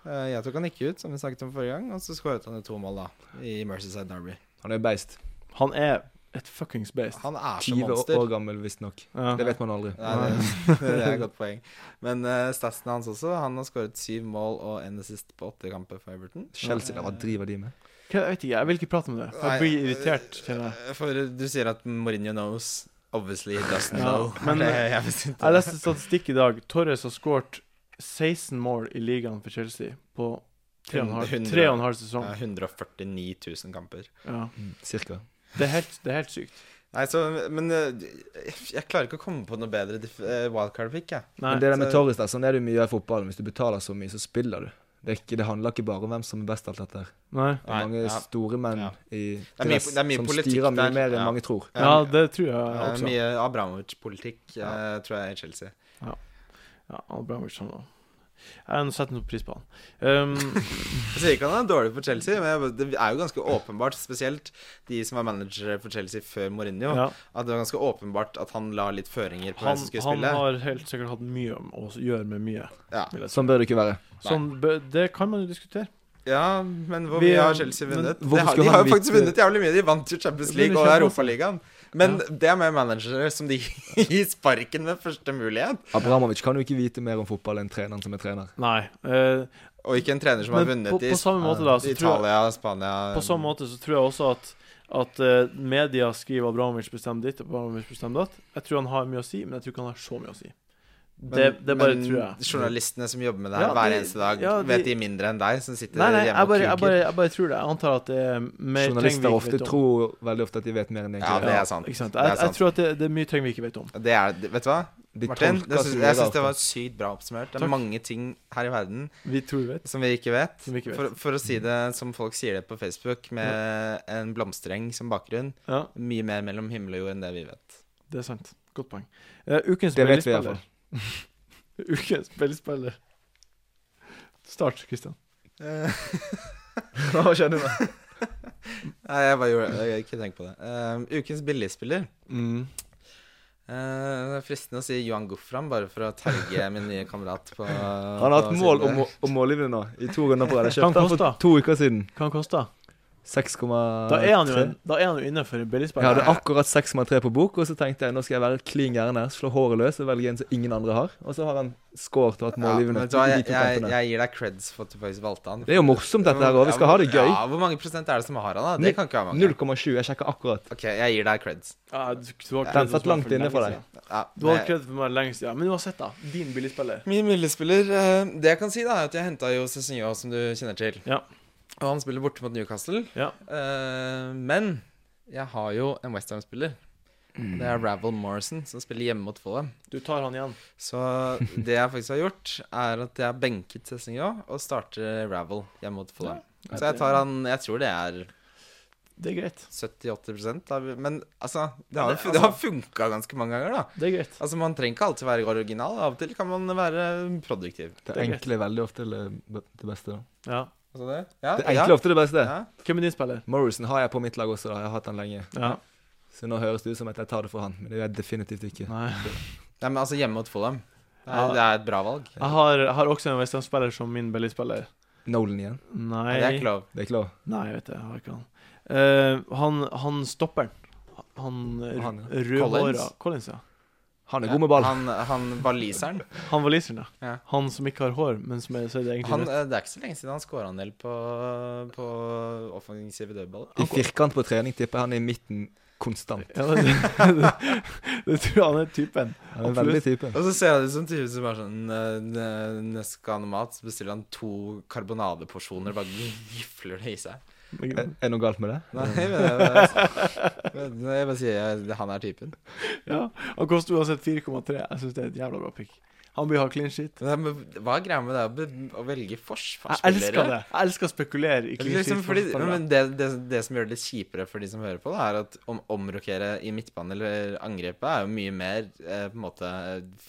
Speaker 3: Eh, jeg tok han ikke ut, som vi snakket om forrige gang, og så skåret han jo to mål, da, i Mercyside Derby.
Speaker 2: Han er jo beist.
Speaker 1: Han er et fuckings beist.
Speaker 3: Han er så
Speaker 2: 20
Speaker 3: monster.
Speaker 2: år gammel, visstnok.
Speaker 1: Ja.
Speaker 2: Det vet man aldri.
Speaker 3: Nei, det, det er et godt poeng. Men uh, statsen hans også. Han har skåret syv mål og en assist på åtte kamper for Everton.
Speaker 2: Chelsea, hva driver de med?
Speaker 1: Hva- Jeg vet ikke, jeg vil ikke prate om det.
Speaker 3: Nei,
Speaker 1: Jeg blir irritert, kjenner jeg.
Speaker 3: Eh, For du sier at Mourinho knows. Obviously he doesn't
Speaker 1: Ja,
Speaker 3: know.
Speaker 1: men-
Speaker 3: det, jeg visste ikke.
Speaker 1: Jeg leste statistikk i dag. Torres har skåret 16 mål i ligaen for Chelsea på tre og en halv-
Speaker 3: 100.
Speaker 1: tre og en halv
Speaker 3: Ja,
Speaker 1: sesong.
Speaker 3: 149 000 kamper.
Speaker 1: Ja.
Speaker 2: Cirka.
Speaker 1: Det, er helt, det er helt sykt.
Speaker 3: Nei, så, men eh, jeg klarer ikke å komme på noe bedre dif- eh, wildcard-pick, jeg.
Speaker 1: Nei.
Speaker 2: Men det der med
Speaker 3: så-
Speaker 2: Torres, der, sånn er det jo mye i fotballen. Hvis du betaler så mye, så spiller du. Det, er ikke, det handler ikke bare om hvem som er best, alt dette. her.
Speaker 1: Nei.
Speaker 2: Det er
Speaker 3: Nei,
Speaker 2: mange
Speaker 3: ja.
Speaker 2: store menn
Speaker 3: Ja.
Speaker 2: i
Speaker 3: er mye-
Speaker 2: dress
Speaker 3: det er mye
Speaker 2: som
Speaker 3: politikk
Speaker 2: styrer mye
Speaker 3: der.
Speaker 2: mer enn
Speaker 3: Ja.
Speaker 2: mange tror.
Speaker 1: Ja, det tror jeg
Speaker 3: Eh,
Speaker 1: også.
Speaker 3: mye Abramovic-politikk, eh, tror jeg, i Chelsea.
Speaker 1: Ja, Abramovic han òg. Jeg setter noe pris på han. Um,
Speaker 3: Jeg sier ikke han er dårlig for Chelsea, men jeg- det er jo ganske åpenbart, spesielt de som var managere for Chelsea før Mourinho,
Speaker 1: ja,
Speaker 3: at det var ganske åpenbart at han la litt føringer på hvem
Speaker 1: han,
Speaker 3: som skulle
Speaker 1: han
Speaker 3: spille.
Speaker 1: har helt sikkert hatt mye om å gjøre med mye.
Speaker 3: Ja.
Speaker 1: vil jeg si.
Speaker 2: Sånn bør det ikke være.
Speaker 1: Sånn, bø- det kan man jo diskutere.
Speaker 3: ja, men hvor
Speaker 1: Vi,
Speaker 3: mye har
Speaker 1: eh,
Speaker 3: Chelsea
Speaker 1: men
Speaker 3: vunnet?
Speaker 2: hvorfor
Speaker 3: Det har,
Speaker 2: skulle
Speaker 3: de
Speaker 2: han
Speaker 3: har jo faktisk
Speaker 2: vite-
Speaker 3: vunnet jævlig mye. De vant jo Champions
Speaker 1: Men
Speaker 3: League
Speaker 1: de
Speaker 3: og
Speaker 1: kjøper
Speaker 3: Europaligaen. Men det er med managere som de gir sparken ved første mulighet,
Speaker 2: Abramovic kan jo ikke vite mer om fotball enn treneren som er trener.
Speaker 1: Nei. eh,
Speaker 3: og ikke en trener som har
Speaker 1: men på,
Speaker 3: vunnet i eh,
Speaker 1: på samme måte, da, så tror jeg,
Speaker 3: Italia, Spania
Speaker 1: på samme måte så tror jeg også at at eh, media skriver Abramovic bestemmer ditt og Abramovic bestemmer datt. Jeg tror han har mye å si, men jeg tror ikke han har så mye å si. Det, det bare tror jeg.
Speaker 3: journalistene som jobber med det her
Speaker 1: Ja,
Speaker 3: hver
Speaker 1: de-
Speaker 3: eneste dag,
Speaker 1: ja, de-
Speaker 3: vet de mindre enn deg, som
Speaker 2: eh,
Speaker 3: sitter
Speaker 1: Nei, nei,
Speaker 3: hjemme
Speaker 1: jeg
Speaker 3: og
Speaker 1: bare,
Speaker 3: kuker?
Speaker 1: jeg, bare, jeg bare tror det. Jeg antar at det er mer ting vi
Speaker 2: Journalister
Speaker 1: ikke
Speaker 2: ofte
Speaker 1: vet om.
Speaker 2: tror veldig ofte at de vet mer enn de
Speaker 3: Ja,
Speaker 2: egentlig
Speaker 3: det
Speaker 2: gjør.
Speaker 3: er sant.
Speaker 1: Ikke sant?
Speaker 3: Det er
Speaker 1: Jeg, jeg
Speaker 3: sant.
Speaker 1: tror at det, det er mye ting vi ikke vet om.
Speaker 3: Det er, det- vet du hva,
Speaker 2: De
Speaker 3: Martin?
Speaker 2: tolker
Speaker 3: Det
Speaker 2: så
Speaker 3: syns,
Speaker 2: mye
Speaker 3: jeg syns
Speaker 2: rart,
Speaker 3: det var
Speaker 2: da.
Speaker 3: sykt bra oppsummert. Det er
Speaker 1: Takk.
Speaker 3: mange ting her i verden
Speaker 1: Vi tror vi vet.
Speaker 3: som vi ikke vet.
Speaker 1: Som vi ikke vet.
Speaker 3: For, for å si det som folk sier det på Facebook, med en blomstereng som bakgrunn.
Speaker 1: Ja,
Speaker 3: Mye mer mellom himmel og jord enn det vi vet.
Speaker 1: det er sant. Godt poeng. Eh, ukens
Speaker 2: Det vet vi i
Speaker 1: spillespiller. ukens spillespiller. Start, Kristian.
Speaker 2: Eh. Hva skjedde nå?
Speaker 3: Nei, jeg bare gjorde det. Jeg har ikke tenkt på det. Eh, ukens billigspiller.
Speaker 1: Mm.
Speaker 3: Eh, det er fristende å si Johan Gofram, bare for å terge min nye kamerat på
Speaker 2: Han har
Speaker 3: på
Speaker 2: hatt mål
Speaker 3: siden
Speaker 2: om,
Speaker 3: der.
Speaker 2: å- om mållinjen nå i to runder på rad. Jeg
Speaker 1: Han
Speaker 2: kjøpte han
Speaker 1: koster.
Speaker 2: for to uker siden.
Speaker 1: Hva han koster
Speaker 2: 6,3.
Speaker 1: Da er han jo, en- da er han jo innenfor
Speaker 2: Jeg hadde
Speaker 1: billigspilleren.
Speaker 2: akkurat 6,3 på bok, og så tenkte jeg nå skal jeg være klin gæren her. Slå håret løs og velge en som ingen andre har. Og så har han scoret og hatt
Speaker 3: Ja,
Speaker 2: mål i
Speaker 3: men vet
Speaker 2: vinnet
Speaker 3: du hva,
Speaker 2: i de
Speaker 3: jeg,
Speaker 2: to
Speaker 3: jeg,
Speaker 2: kampene.
Speaker 3: jeg gir deg creds for at du faktisk valgte han.
Speaker 2: Det er jo morsomt, dette her òg. Vi skal ha det gøy.
Speaker 3: Ja, Hvor mange prosent er det som har han, da?
Speaker 2: Null-
Speaker 3: Det kan ikke være mange.
Speaker 2: 0,7. Jeg sjekka akkurat.
Speaker 3: Ok, jeg gir deg creds.
Speaker 1: Ja, du, du har
Speaker 2: Den satt langt inne for deg.
Speaker 3: Ja,
Speaker 1: Du har
Speaker 3: det-
Speaker 1: kredd for meg lenge siden. Men uansett, da. Din billigspiller.
Speaker 3: Min billigspiller eh, Det jeg kan si, da, er at jeg henta jo Cezinho, som du kjenner til.
Speaker 1: Ja.
Speaker 3: Og han spiller borte mot Newcastle.
Speaker 1: Ja.
Speaker 3: Eh, men jeg har jo en Westham-spiller. Det er Ravel Morrison, som spiller hjemme mot Fulham.
Speaker 1: Du tar han igjen.
Speaker 3: Så det jeg faktisk har gjort, er at jeg har benket Cezinho og starter Ravel hjemme mot Fulham. Så jeg tar han Jeg tror det er
Speaker 1: Det er greit.
Speaker 3: 70-80 av Men altså, det har, jo- det har funka ganske mange ganger, da.
Speaker 1: Det er greit.
Speaker 3: Altså, Man trenger ikke alltid være original. Av og til kan man være produktiv.
Speaker 2: Det
Speaker 1: Det er
Speaker 2: enkle er veldig ofte det det beste. da.
Speaker 1: Ja.
Speaker 3: Altså det? Ja,
Speaker 2: Det enkle er ofte det beste.
Speaker 3: Ja.
Speaker 1: Hvem er din spiller?
Speaker 2: Morrison har jeg på mitt lag også, da. Jeg har hatt han lenge.
Speaker 1: Ja.
Speaker 2: Så nå høres det ut som at jeg tar det for han, men det gjør jeg definitivt ikke.
Speaker 1: Nei.
Speaker 3: Nei, men altså hjemme mot Fulham. Det er,
Speaker 1: Ja.
Speaker 3: det er et bra valg.
Speaker 1: Jeg har, jeg har også en Westham-spiller som min billigspiller.
Speaker 2: Nolan igjen.
Speaker 1: Nei.
Speaker 3: Nei. Det er ikke lov.
Speaker 2: Det er ikke lov.
Speaker 1: Nei, jeg vet det. Jeg har ikke han. Eh, han, han stopper Han, han
Speaker 2: Han, ja.
Speaker 1: rødhåra
Speaker 3: Collins?
Speaker 1: Collins, ja.
Speaker 2: Han er god med ball.
Speaker 3: Han, han waliseren.
Speaker 1: Han waliseren, ja.
Speaker 3: Ja.
Speaker 1: Han som ikke har hår, men som er, så er det egentlig
Speaker 3: Han,
Speaker 1: rødt.
Speaker 3: eh, det er ikke så lenge siden han scora en del på, på offensive dødballer.
Speaker 2: I firkant på trening tipper jeg han er i midten konstant.
Speaker 1: Ja, det, det, det tror jeg han er typen.
Speaker 2: Han er veldig typen.
Speaker 3: Og så ser jeg det som typen som er sånn eh, n- Neste gang han har mat, så bestiller han to karbonadeporsjoner og bare gifler det i seg.
Speaker 2: Er er det noe galt med det?
Speaker 3: Nei, men jeg, bare- men jeg bare sier jeg- han er typen.
Speaker 1: Ja, Han koster uansett 4,3. Jeg syns det er et jævla bra pick. Han blir ha clean shit.
Speaker 3: Men, det er- hva er greia med det å be- å velge
Speaker 1: Jeg
Speaker 3: forsvarsspillere?
Speaker 1: elsker det. Jeg elsker å spekulere i clean
Speaker 3: Liksom
Speaker 1: shit.
Speaker 3: fordi,
Speaker 1: for
Speaker 3: men det, det, det som gjør det litt kjipere for de som hører på, da, er at om, omrokere i midtbanen eller angrepet er jo mye mer eh, på en måte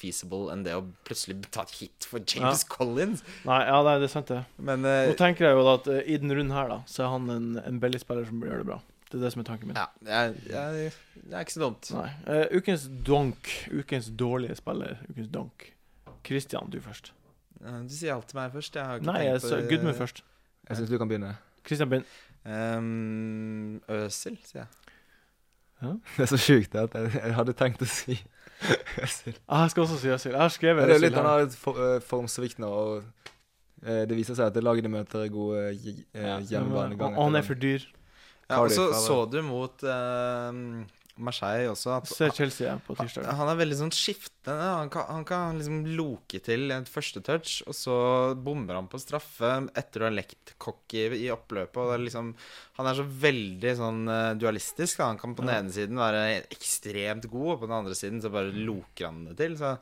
Speaker 3: feasible enn det å plutselig ta et hit for James Collins.
Speaker 1: Nei, ja, nei, det er sant, det.
Speaker 3: Men
Speaker 1: Nå
Speaker 3: eh,
Speaker 1: tenker jeg jo da at eh, i den runden her, da, så er han en, en billigspiller som gjør det bra. Det er det som er tanken min.
Speaker 3: ja, jeg, jeg, det er ikke så dumt.
Speaker 1: Nei. Eh, ukens donk. Ukens dårlige spiller. Ukens donk. Christian, du først.
Speaker 3: Eh, Du sier alltid meg først. Jeg har ikke
Speaker 1: Nei, jeg
Speaker 3: tenkt eh,
Speaker 1: sa Gudmund først.
Speaker 2: Jeg syns du kan begynne.
Speaker 1: Christian begynn.
Speaker 3: Ehm, Øsil, eh, sier jeg.
Speaker 2: Det er så sjukt det at jeg, jeg hadde tenkt å si Øzil.
Speaker 1: Ah, jeg skal også si Øzil. Jeg har
Speaker 2: Men
Speaker 1: skrevet
Speaker 2: Det er jo
Speaker 1: Øzil
Speaker 2: litt han
Speaker 1: her.
Speaker 2: har et for, eh, formsvikt nå, og eh, det viser seg at det laget de møter, er gode eh,
Speaker 1: Ja,
Speaker 2: hjemmebane. gang
Speaker 1: og han er
Speaker 2: etter
Speaker 1: for dyr.
Speaker 3: Ja, og så
Speaker 2: Cardiff,
Speaker 3: så du mot ehm, Marseille også at
Speaker 1: Se Chelsea ja, på tirsdag.
Speaker 3: Han er veldig sånn skiftende. Han kan, han kan liksom loke til et første touch, og så bomber han på straffe etter å ha lekt kokk i, i oppløpet. Og det er liksom, han er så veldig sånn eh, dualistisk. Da. Han kan på den
Speaker 1: Ja.
Speaker 3: ene siden være ekstremt god, og på den andre siden så bare loker han det til. Så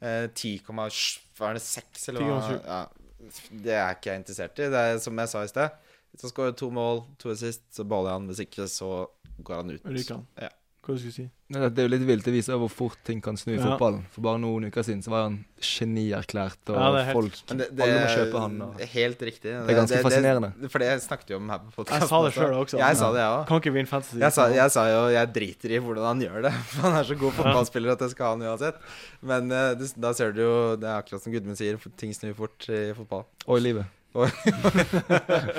Speaker 3: eh, 10,6 eller hva
Speaker 1: 10,7.
Speaker 3: ja, Det er ikke jeg interessert i. Det er som jeg sa i sted. Hvis han skårer to mål, to assist, så baller jeg han. Hvis ikke, så går han ut.
Speaker 1: Ryker han.
Speaker 3: Ja.
Speaker 1: Hva du skulle si?
Speaker 2: Nei, Det er jo litt vilt. Det viser hvor fort ting kan snu i
Speaker 1: Ja.
Speaker 2: fotballen. For bare noen uker siden så var han genierklært, og
Speaker 1: Ja, det er helt-
Speaker 2: folk
Speaker 3: Men det, det,
Speaker 2: Alle må kjøpe han. Og...
Speaker 3: er Helt riktig. Det
Speaker 2: er ganske fascinerende.
Speaker 3: Det, for det snakket vi om her på podcasten
Speaker 1: Jeg sa det selv også.
Speaker 3: Jeg sa det, jeg òg.
Speaker 1: Kan ikke vinne fantasy.
Speaker 3: Jeg, sa- jeg sa jo jeg driter i hvordan han gjør det. For han er så god fotballspiller at jeg skal ha han uansett. Men eh, det, da ser du jo Det er akkurat som Gudmund sier, ting snur fort i fotball.
Speaker 2: Og i livet.
Speaker 3: Og-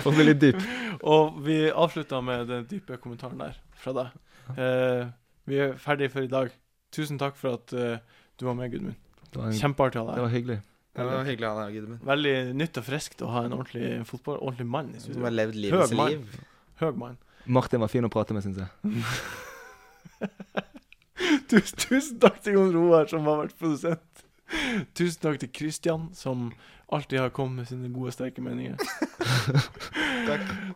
Speaker 2: For å bli litt dyp.
Speaker 1: Og vi avslutta med den dype kommentaren der fra deg. Eh, vi er ferdige for i dag. Tusen takk for at eh, du var med, Gudmund.
Speaker 2: Det var, en...
Speaker 1: Kjempeartig å ha
Speaker 2: det
Speaker 1: deg her.
Speaker 2: var hyggelig.
Speaker 3: Det var hyggelig å ha deg her, Gudmund.
Speaker 1: Veldig nytt og friskt å ha en ordentlig fotball, ordentlig mann i
Speaker 3: Som
Speaker 1: studio.
Speaker 3: har levd
Speaker 1: Høg
Speaker 3: livets
Speaker 1: mann.
Speaker 3: liv.
Speaker 1: Høg mann.
Speaker 2: Martin var fin å prate med, syns jeg.
Speaker 1: Tusen, tusen takk til Jon Roar, som har vært produsent. Tusen takk til Christian, som alltid har kommet med sine gode, sterke meninger.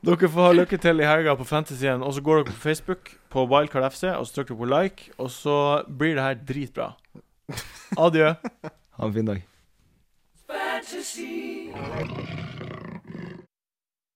Speaker 1: Dere får ha lykke til i helga på Fantasyen. Og så går dere på Facebook på Wildcard FC og så trykker dere på like, og så blir det her dritbra. Adjø.
Speaker 2: Ha en fin dag.
Speaker 4: fantasy.